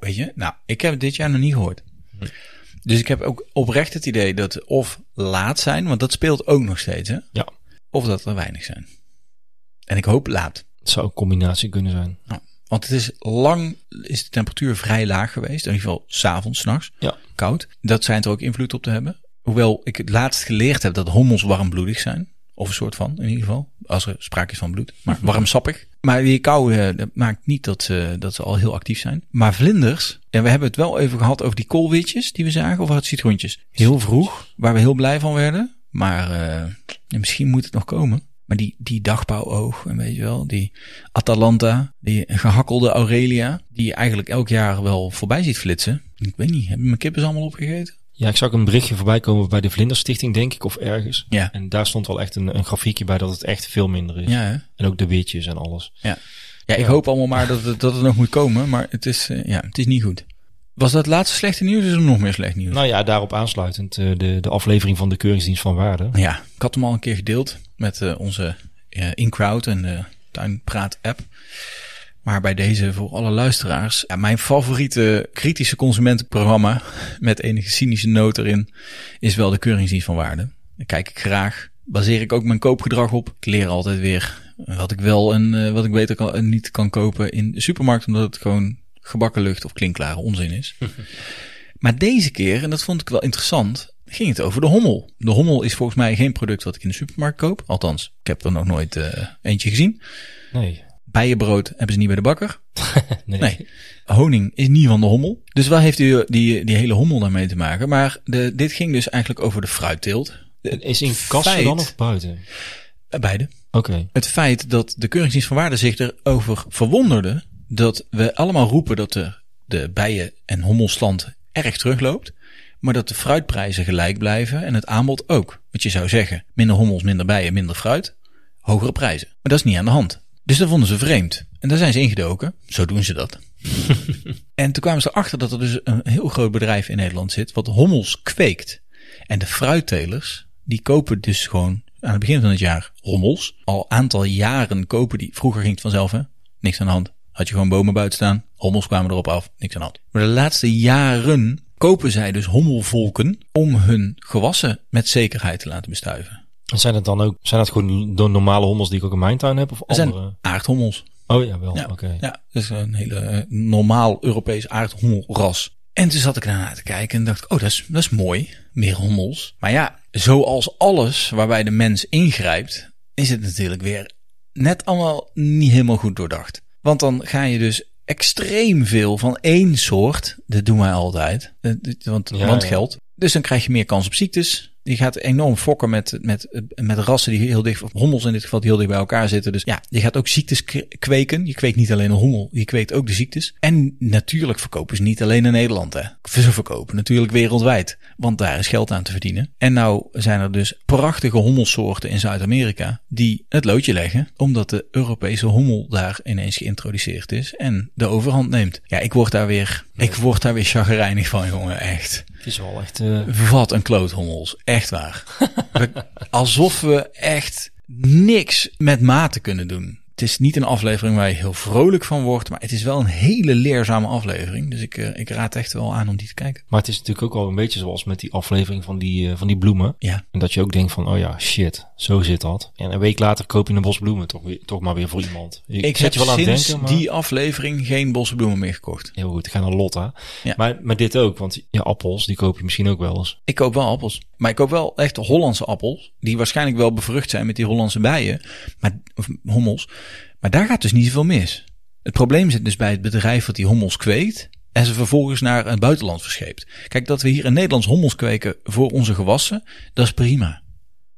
[SPEAKER 1] Weet je? Nou, ik heb het dit jaar nog niet gehoord. Dus ik heb ook oprecht het idee dat ze of laat zijn, want dat speelt ook nog steeds, hè?
[SPEAKER 3] Ja.
[SPEAKER 1] Of dat er weinig zijn. En ik hoop laat.
[SPEAKER 3] Het zou een combinatie kunnen zijn.
[SPEAKER 1] Want het is lang, is de temperatuur vrij laag geweest. In ieder geval s'avonds, s'nachts.
[SPEAKER 3] Ja.
[SPEAKER 1] Koud. Dat schijnt er ook invloed op te hebben. Hoewel ik het laatst geleerd heb dat hommels warmbloedig zijn. Of een soort van, in ieder geval. Als er sprake is van bloed. Maar warmsappig. Maar die kou eh, dat maakt niet dat ze, dat ze al heel actief zijn. Maar vlinders. En we hebben het wel even gehad over die koolwitjes die we zagen. Of het citroentjes. Heel vroeg. Waar we heel blij van werden. Maar eh, ja, misschien moet het nog komen. Maar die, die dagbouwoog, en weet je wel, die Atalanta, die gehakkelde Aurelia, die je eigenlijk elk jaar wel voorbij ziet flitsen. Ik weet niet, hebben mijn kippen ze allemaal opgegeten?
[SPEAKER 3] Ja, ik zag een berichtje voorbij komen bij de Vlinderstichting, denk ik, of ergens.
[SPEAKER 1] Ja.
[SPEAKER 3] En daar stond wel echt een, een grafiekje bij dat het echt veel minder is.
[SPEAKER 1] Ja, hè?
[SPEAKER 3] En ook de weertjes en alles.
[SPEAKER 1] ja ik hoop allemaal maar dat het, dat het nog moet komen, maar het is, eh, ja, het is niet goed. Was dat laatste slechte nieuws? Is er nog meer slecht nieuws?
[SPEAKER 3] Nou ja, daarop aansluitend eh, de, de aflevering van de Keuringsdienst van Waarde.
[SPEAKER 1] Ja, ik had hem al een keer gedeeld met eh, onze eh, InCrowd en de Tuinpraat-app. Maar bij deze voor alle luisteraars, ja, mijn favoriete kritische consumentenprogramma met enige cynische noot erin, is wel de Keuringsdienst van Waarde. Daar kijk ik graag. Baseer ik ook mijn koopgedrag op. Ik leer altijd weer wat ik wel en eh, wat ik beter kan, en niet kan kopen in de supermarkt, omdat het gewoon gebakken lucht of klinkklare onzin is. Maar deze keer, en dat vond ik wel interessant, ging het over de hommel. De hommel is volgens mij geen product wat ik in de supermarkt koop. Althans, ik heb er nog nooit eh, eentje gezien.
[SPEAKER 3] Nee.
[SPEAKER 1] Bijenbrood hebben ze niet bij de bakker.
[SPEAKER 3] Nee.
[SPEAKER 1] Nee. Honing is niet van de hommel. Dus waar heeft die, die, die hele hommel daarmee te maken? Maar de, dit ging dus eigenlijk over de fruitteelt.
[SPEAKER 3] Is in kassen
[SPEAKER 1] feit-
[SPEAKER 3] dan of buiten?
[SPEAKER 1] Eh, Beide.
[SPEAKER 3] Oké.
[SPEAKER 1] het feit dat de Keuringsdienst van Waarde zich erover verwonderde dat we allemaal roepen dat de, de bijen- en hommelstand erg terugloopt, maar dat de fruitprijzen gelijk blijven en het aanbod ook. Want je zou zeggen, minder hommels, minder bijen, minder fruit, hogere prijzen. Maar dat is niet aan de hand. Dus dat vonden ze vreemd. En daar zijn ze ingedoken. Zo doen ze dat. en toen kwamen ze erachter dat er dus een heel groot bedrijf in Nederland zit wat hommels kweekt. En de fruittelers, die kopen dus gewoon aan het begin van het jaar hommels. Al aantal jaren kopen die. Vroeger ging het vanzelf, hè? Niks aan de hand. Had je gewoon bomen buiten staan. Hommels kwamen erop af. Niks aan de hand. Maar de laatste jaren kopen zij dus hommelvolken om hun gewassen met zekerheid te laten bestuiven.
[SPEAKER 3] En zijn het dan ook, zijn dat gewoon de normale hommels die ik ook in mijn tuin heb? Of
[SPEAKER 1] Er zijn
[SPEAKER 3] andere?
[SPEAKER 1] aardhommels.
[SPEAKER 3] Oh ja, wel.
[SPEAKER 1] Ja,
[SPEAKER 3] Oké.
[SPEAKER 1] ja, dat is een hele eh, normaal Europees aardhommelras. En toen zat ik daarna te kijken en dacht ik, oh, dat is, dat is mooi. Meer hommels. Maar ja, zoals alles waarbij de mens ingrijpt, is het natuurlijk weer net allemaal niet helemaal goed doordacht. Want dan ga je dus extreem veel van één soort, dat doen wij altijd, eh, dit- want,
[SPEAKER 3] Ja,
[SPEAKER 1] want
[SPEAKER 3] ja.
[SPEAKER 1] geld. Dus dan krijg je meer kans op ziektes. Je gaat enorm fokken met, met, met rassen die heel dicht, of hommels in dit geval, die heel dicht bij elkaar zitten. Dus ja, je gaat ook ziektes k- kweken. Je kweekt niet alleen een hommel, je kweekt ook de ziektes. En natuurlijk verkopen ze niet alleen in Nederland. Hè. Ze verkopen natuurlijk wereldwijd, want daar is geld aan te verdienen. En nou zijn er dus prachtige hommelsoorten in Zuid-Amerika die het loodje leggen, omdat de Europese hommel daar ineens geïntroduceerd is en de overhand neemt. Ja, ik word daar weer, ik word daar weer chagrijnig van, jongen, echt.
[SPEAKER 3] Het is wel echt... eh,
[SPEAKER 1] Wat een kloothommels. Echt waar. We- alsof we echt niks met mate kunnen doen. Het is niet een aflevering waar je heel vrolijk van wordt, maar het is wel een hele leerzame aflevering. Dus ik, eh, ik raad echt wel aan om die te kijken.
[SPEAKER 3] maar het is natuurlijk ook wel een beetje zoals met die aflevering van die, eh, van die bloemen.
[SPEAKER 1] Ja,
[SPEAKER 3] En dat je ook denkt van, oh ja, shit, zo zit dat. En een week later koop je een bos bloemen toch, weer, toch maar weer voor iemand.
[SPEAKER 1] ik,
[SPEAKER 3] zit
[SPEAKER 1] heb
[SPEAKER 3] je wel aan het
[SPEAKER 1] sinds
[SPEAKER 3] denken, maar...
[SPEAKER 1] die aflevering geen bosse bloemen meer gekocht.
[SPEAKER 3] Heel goed, ik ga naar Lotta.
[SPEAKER 1] Ja.
[SPEAKER 3] Maar, maar dit ook, want ja, appels, die koop je misschien ook wel eens.
[SPEAKER 1] Ik koop wel appels. Maar ik koop wel echt Hollandse appels. Die waarschijnlijk wel bevrucht zijn met die Hollandse bijen. Maar, of hommels. Maar daar gaat dus niet zoveel mis. Het probleem zit dus bij het bedrijf dat die hommels kweekt. En ze vervolgens naar het buitenland verscheept. Kijk, dat we hier in Nederlands hommels kweken voor onze gewassen. Dat is prima.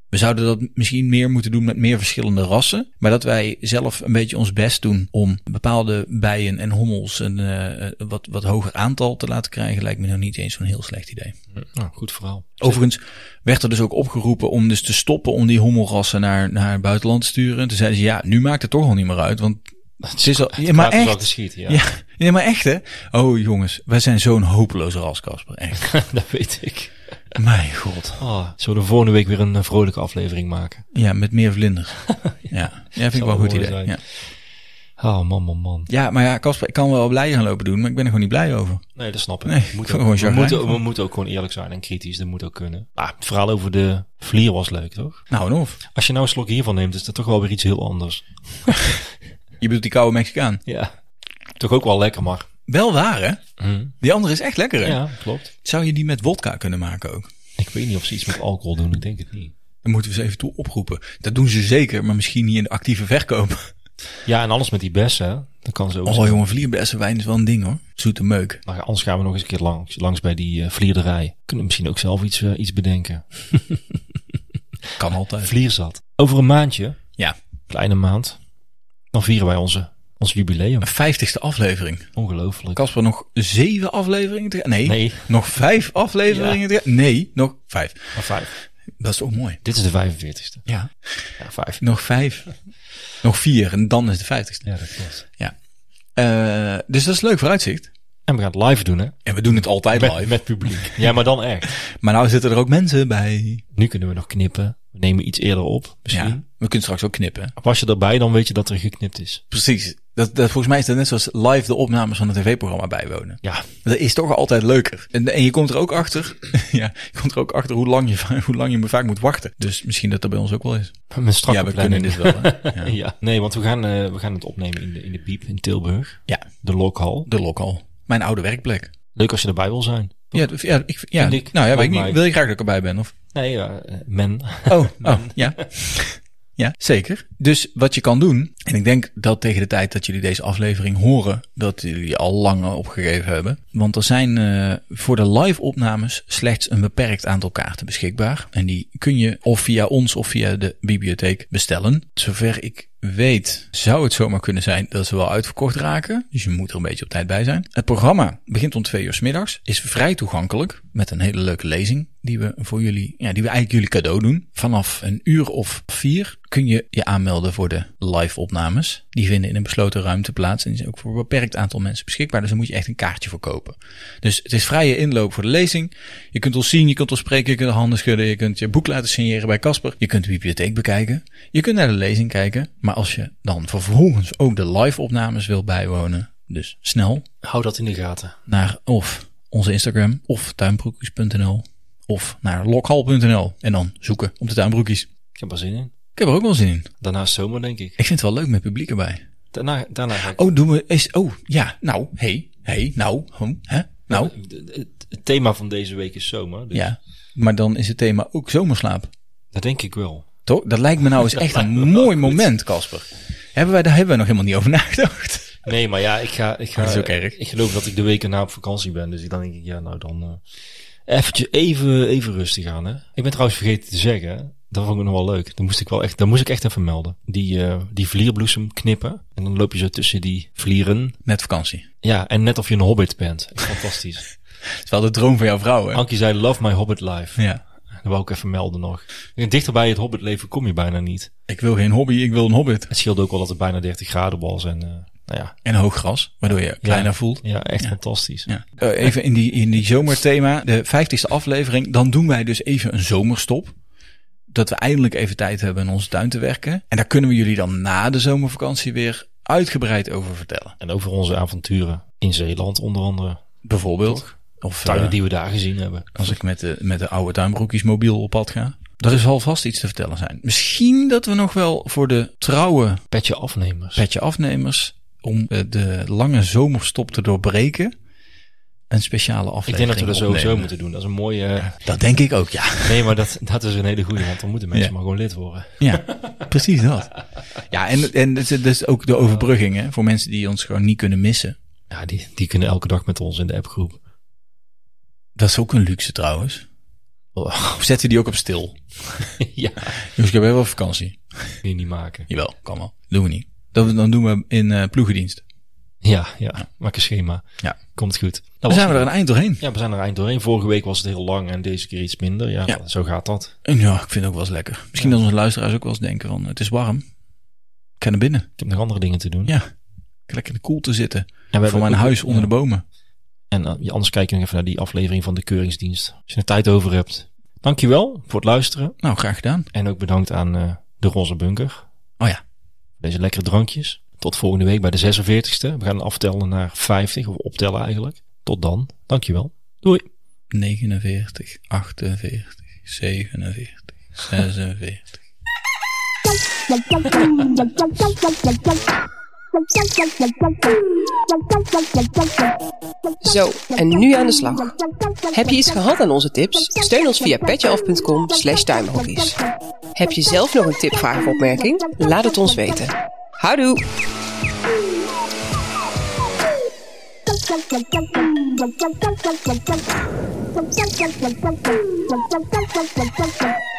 [SPEAKER 1] We zouden dat misschien meer moeten doen met meer verschillende rassen. Maar dat wij zelf een beetje ons best doen om bepaalde bijen en hommels een eh, wat, wat hoger aantal te laten krijgen. Lijkt me nou niet eens zo'n heel slecht idee.
[SPEAKER 3] Nou, goed verhaal.
[SPEAKER 1] Overigens werd er dus ook opgeroepen om dus te stoppen om die hommelrassen naar, naar het buitenland te sturen. Toen zeiden ze, ja, nu maakt het toch al niet meer uit, want het is al... Ja, maar
[SPEAKER 3] Kwaad is al
[SPEAKER 1] echt,
[SPEAKER 3] geschied, ja.
[SPEAKER 1] ja, nee, maar echt hè. Oh jongens, wij zijn zo'n hopeloze ras, Casper. Echt.
[SPEAKER 3] dat weet ik.
[SPEAKER 1] Mijn god.
[SPEAKER 3] Oh, zullen we volgende week weer een eh, vrolijke aflevering maken?
[SPEAKER 1] Ja, met meer vlinders. Ja, ja vind ik
[SPEAKER 3] Zal
[SPEAKER 1] wel een goed
[SPEAKER 3] mooi
[SPEAKER 1] idee.
[SPEAKER 3] zijn.
[SPEAKER 1] Ja.
[SPEAKER 3] Oh, man, man, man.
[SPEAKER 1] ja, maar ja, Casper, ik kan wel blij gaan lopen doen, maar ik ben er gewoon niet blij over.
[SPEAKER 3] Nee, dat snap ik.
[SPEAKER 1] Nee,
[SPEAKER 3] we, moeten
[SPEAKER 1] gewoon
[SPEAKER 3] ook, we,
[SPEAKER 1] chagrijnig
[SPEAKER 3] moeten,
[SPEAKER 1] van.
[SPEAKER 3] we moeten ook gewoon eerlijk zijn en kritisch. Dat moet ook kunnen. Ah, het verhaal over de vlier was leuk, toch?
[SPEAKER 1] Nou, en of.
[SPEAKER 3] Als je nou een slok hiervan neemt, is dat toch wel weer iets heel anders.
[SPEAKER 1] Je bedoelt die koude Mexicaan.
[SPEAKER 3] Ja. Toch ook wel lekker, maar.
[SPEAKER 1] Wel waar hè? Die andere is echt lekker hè?
[SPEAKER 3] Hm. Ja, klopt.
[SPEAKER 1] Zou je die met wodka kunnen maken ook?
[SPEAKER 3] Ik weet niet of ze iets met alcohol doen. Ik denk het niet.
[SPEAKER 1] Dan moeten we ze even toe oproepen. Dat doen ze zeker, maar misschien niet in de actieve verkoop.
[SPEAKER 3] Ja, en alles met die bessen, hè. Dat kan ze ook.
[SPEAKER 1] Oh jongen, vlierbessenwijn is wel een ding hoor. Zoete meuk.
[SPEAKER 3] Maar anders gaan we nog eens een keer langs, langs bij die eh, vlierderij. Kunnen we misschien ook zelf iets, eh, iets bedenken.
[SPEAKER 1] Kan altijd.
[SPEAKER 3] Vlierzat. Over een maandje,
[SPEAKER 1] Ja,
[SPEAKER 3] kleine maand, dan vieren wij onze, ons jubileum.
[SPEAKER 1] een vijftigste aflevering.
[SPEAKER 3] Ongelooflijk.
[SPEAKER 1] Casper, nog zeven afleveringen te gaan? Nee,
[SPEAKER 3] Nee.
[SPEAKER 1] nog vijf afleveringen te gaan? Nee, nog vijf.
[SPEAKER 3] Maar vijf.
[SPEAKER 1] Dat is ook mooi.
[SPEAKER 3] Dit is de 45ste.
[SPEAKER 1] Ja.
[SPEAKER 3] Ja, vijf.
[SPEAKER 1] Nog vijf. Nog vier en dan is de vijftigste.
[SPEAKER 3] Ja, dat klopt.
[SPEAKER 1] Ja. Eh, dus dat is een leuk vooruitzicht.
[SPEAKER 3] En we gaan het live doen, hè?
[SPEAKER 1] En we doen het altijd live.
[SPEAKER 3] Met, met publiek. Ja, maar dan echt.
[SPEAKER 1] Maar nou zitten er ook mensen bij.
[SPEAKER 3] Nu kunnen we nog knippen. We nemen iets eerder op, misschien.
[SPEAKER 1] Ja, we kunnen straks ook knippen.
[SPEAKER 3] Was je erbij, dan weet je dat er geknipt is.
[SPEAKER 1] Precies. Dat, dat, volgens mij is dat net zoals live de opnames van een tv-programma bijwonen.
[SPEAKER 3] Ja,
[SPEAKER 1] Dat is toch altijd leuker. En, en je komt er ook achter. ja, je komt er ook achter hoe lang je, hoe lang je maar vaak moet wachten. Dus misschien dat dat bij ons ook wel is.
[SPEAKER 3] een strakke
[SPEAKER 1] ja, we
[SPEAKER 3] planning.
[SPEAKER 1] kunnen dit wel. hè? Ja.
[SPEAKER 3] Ja. Nee, want we gaan, eh, we gaan het opnemen in de, in de Biep in Tilburg.
[SPEAKER 1] ja,
[SPEAKER 3] De Lokhal.
[SPEAKER 1] de lokal. Mijn oude werkplek.
[SPEAKER 3] Leuk als je erbij wil zijn.
[SPEAKER 1] Ja, d- ja, ik, ja.
[SPEAKER 3] Vind ik.
[SPEAKER 1] nou ja, weet ik
[SPEAKER 3] Lijkt
[SPEAKER 1] niet.
[SPEAKER 3] mij.
[SPEAKER 1] Wil je graag dat ik erbij ben? Of?
[SPEAKER 3] Nee, ja, eh, men.
[SPEAKER 1] Oh, oh ja. Ja, zeker. Dus wat je kan doen, en ik denk dat tegen de tijd dat jullie deze aflevering horen, dat jullie al lang opgegeven hebben. Want er zijn eh, voor de live opnames slechts een beperkt aantal kaarten beschikbaar. En die kun je of via ons of via de bibliotheek bestellen. Zover ik weet, zou het zomaar kunnen zijn dat ze wel uitverkocht raken. Dus je moet er een beetje op tijd bij zijn. Het programma begint om twee uur 's middags, is vrij toegankelijk met een hele leuke lezing die we voor jullie, ja, die we eigenlijk jullie cadeau doen. Vanaf een uur of vier kun je je aanmelden voor de live opnames. Die vinden in een besloten ruimte plaats en die zijn ook voor een beperkt aantal mensen beschikbaar. Dus daar moet je echt een kaartje voor kopen. Dus het is vrije inloop voor de lezing. Je kunt ons zien, je kunt ons spreken, je kunt de handen schudden, je kunt je boek laten signeren bij Casper. Je kunt de bibliotheek bekijken. Je kunt naar de lezing kijken. Maar als je dan vervolgens ook de live opnames wil bijwonen, dus snel
[SPEAKER 3] Hou dat in de gaten.
[SPEAKER 1] naar of onze Instagram of tuinbroekjes.nl of naar lokhal.nl en dan zoeken op de tuinbroekjes.
[SPEAKER 3] Ik heb er zin in.
[SPEAKER 1] Ik heb er ook wel zin in.
[SPEAKER 3] Daarna is zomer, denk ik.
[SPEAKER 1] Ik vind het wel leuk met publiek erbij.
[SPEAKER 3] Daarna, daarna ga ik...
[SPEAKER 1] Oh, doen we is oh ja, nou, hey, hey, nou, hm, hè? Nou,
[SPEAKER 3] Het- Het het thema van deze week is zomer. Dus
[SPEAKER 1] ja. Maar dan is het thema ook zomerslaap.
[SPEAKER 3] Dat denk ik wel.
[SPEAKER 1] Toch? Dat lijkt me nou eens echt een mooi moment, Casper. Hebben wij daar hebben we nog helemaal niet over nagedacht.
[SPEAKER 3] Nee, maar ja, ik ga... Ik ga
[SPEAKER 1] Dat is ook erg.
[SPEAKER 3] Ik geloof dat ik de weken na op vakantie ben. Dus ik- dan denk ik, ja, nou dan... eh, Eventjes even, even rustig aan. Hè? Ik ben trouwens vergeten te zeggen. Dat vond ik nog wel leuk. Dat moest ik wel echt, dat moest ik echt even melden. Die, eh, die vlierbloesem knippen. En dan loop je zo tussen die vlieren.
[SPEAKER 1] Net vakantie.
[SPEAKER 3] Ja, en net of je een hobbit bent. Echt Fantastisch.
[SPEAKER 1] Het is wel de droom van jouw vrouw, hè?
[SPEAKER 3] Ankie zei, love my hobbit life.
[SPEAKER 1] Ja.
[SPEAKER 3] Dat wou ik even melden nog. Dichter bij het hobbitleven kom je bijna niet.
[SPEAKER 1] Ik wil geen hobby, ik wil een hobbit.
[SPEAKER 3] Het scheelde ook wel dat het bijna 30 graden was. En eh, nou ja,
[SPEAKER 1] En hoog gras, waardoor je kleiner voelt.
[SPEAKER 3] ja echt fantastisch.
[SPEAKER 1] Ja. Eh, even in die, in die zomerthema, de vijftigste aflevering. Dan doen wij dus even een zomerstop. Dat we eindelijk even tijd hebben in onze tuin te werken. En daar kunnen we jullie dan na de zomervakantie weer uitgebreid over vertellen.
[SPEAKER 3] En over onze avonturen in Zeeland onder andere.
[SPEAKER 1] Bijvoorbeeld. Of eh,
[SPEAKER 3] Tuinen die we daar gezien hebben.
[SPEAKER 1] als ik met de, met de oude tuinbroekjes mobiel op pad ga. Er zal vast iets te vertellen zijn. Misschien dat we nog wel voor de trouwe
[SPEAKER 3] Petje afnemers.
[SPEAKER 1] petje afnemers. Om eh, de lange zomerstop te doorbreken. Een speciale
[SPEAKER 3] ik
[SPEAKER 1] aflevering
[SPEAKER 3] denk dat we dat sowieso
[SPEAKER 1] opnemen.
[SPEAKER 3] moeten doen. Dat is een mooie... eh,
[SPEAKER 1] Dat denk ik ook, ja.
[SPEAKER 3] Nee, maar dat, dat is een hele goede, want dan moeten mensen
[SPEAKER 1] Ja.
[SPEAKER 3] maar gewoon lid worden.
[SPEAKER 1] Ja, precies dat. Ja, en, en dat is- dat is ook de overbrugging hè, voor mensen die ons gewoon niet kunnen missen.
[SPEAKER 3] Ja, die, die kunnen elke dag met ons in de appgroep.
[SPEAKER 1] Dat is ook een luxe trouwens.
[SPEAKER 3] Oh,
[SPEAKER 1] Of zetten die ook op stil?
[SPEAKER 3] ja,
[SPEAKER 1] Dus ik heb wel vakantie.
[SPEAKER 3] kun je niet maken.
[SPEAKER 1] Jawel, kan wel. Doen we niet. Dat, dan doen we in eh, ploegendienst.
[SPEAKER 3] Ja, ja, maak een schema.
[SPEAKER 1] Ja.
[SPEAKER 3] Komt goed. Dat
[SPEAKER 1] Dan
[SPEAKER 3] was
[SPEAKER 1] zijn we
[SPEAKER 3] het.
[SPEAKER 1] er een eind doorheen.
[SPEAKER 3] Ja, we zijn er eind doorheen. Vorige week was het heel lang en deze keer iets minder. Ja,
[SPEAKER 1] Ja.
[SPEAKER 3] zo gaat dat.
[SPEAKER 1] En ja, ik vind het ook wel eens lekker. Misschien dat onze luisteraars ook wel eens denken van het is warm. Ik ga naar binnen.
[SPEAKER 3] Ik heb nog andere dingen te doen.
[SPEAKER 1] Ja. Ik lekker in de koelte zitten.
[SPEAKER 3] En we
[SPEAKER 1] Voor mijn huis onder de bomen.
[SPEAKER 3] En eh, anders kijk je nog even naar die aflevering van de Keuringsdienst. Als je er tijd over hebt. Dankjewel voor het luisteren.
[SPEAKER 1] Nou, graag gedaan.
[SPEAKER 3] En ook bedankt aan eh, de Roze Bunker.
[SPEAKER 1] Oh ja.
[SPEAKER 3] Deze lekkere drankjes. Tot volgende week bij de 46ste. We gaan aftellen naar 50, of optellen eigenlijk. Tot dan. Dankjewel. Doei.
[SPEAKER 1] 49, 48, 47, 46.
[SPEAKER 4] Zo, en nu aan de slag.
[SPEAKER 2] Heb je iets gehad aan onze tips? Steun ons via petjeaf.com slash tuinbroekjes. Heb je zelf nog een tip, vraag of opmerking? Laat het ons weten. Houdoe!
[SPEAKER 4] gehad?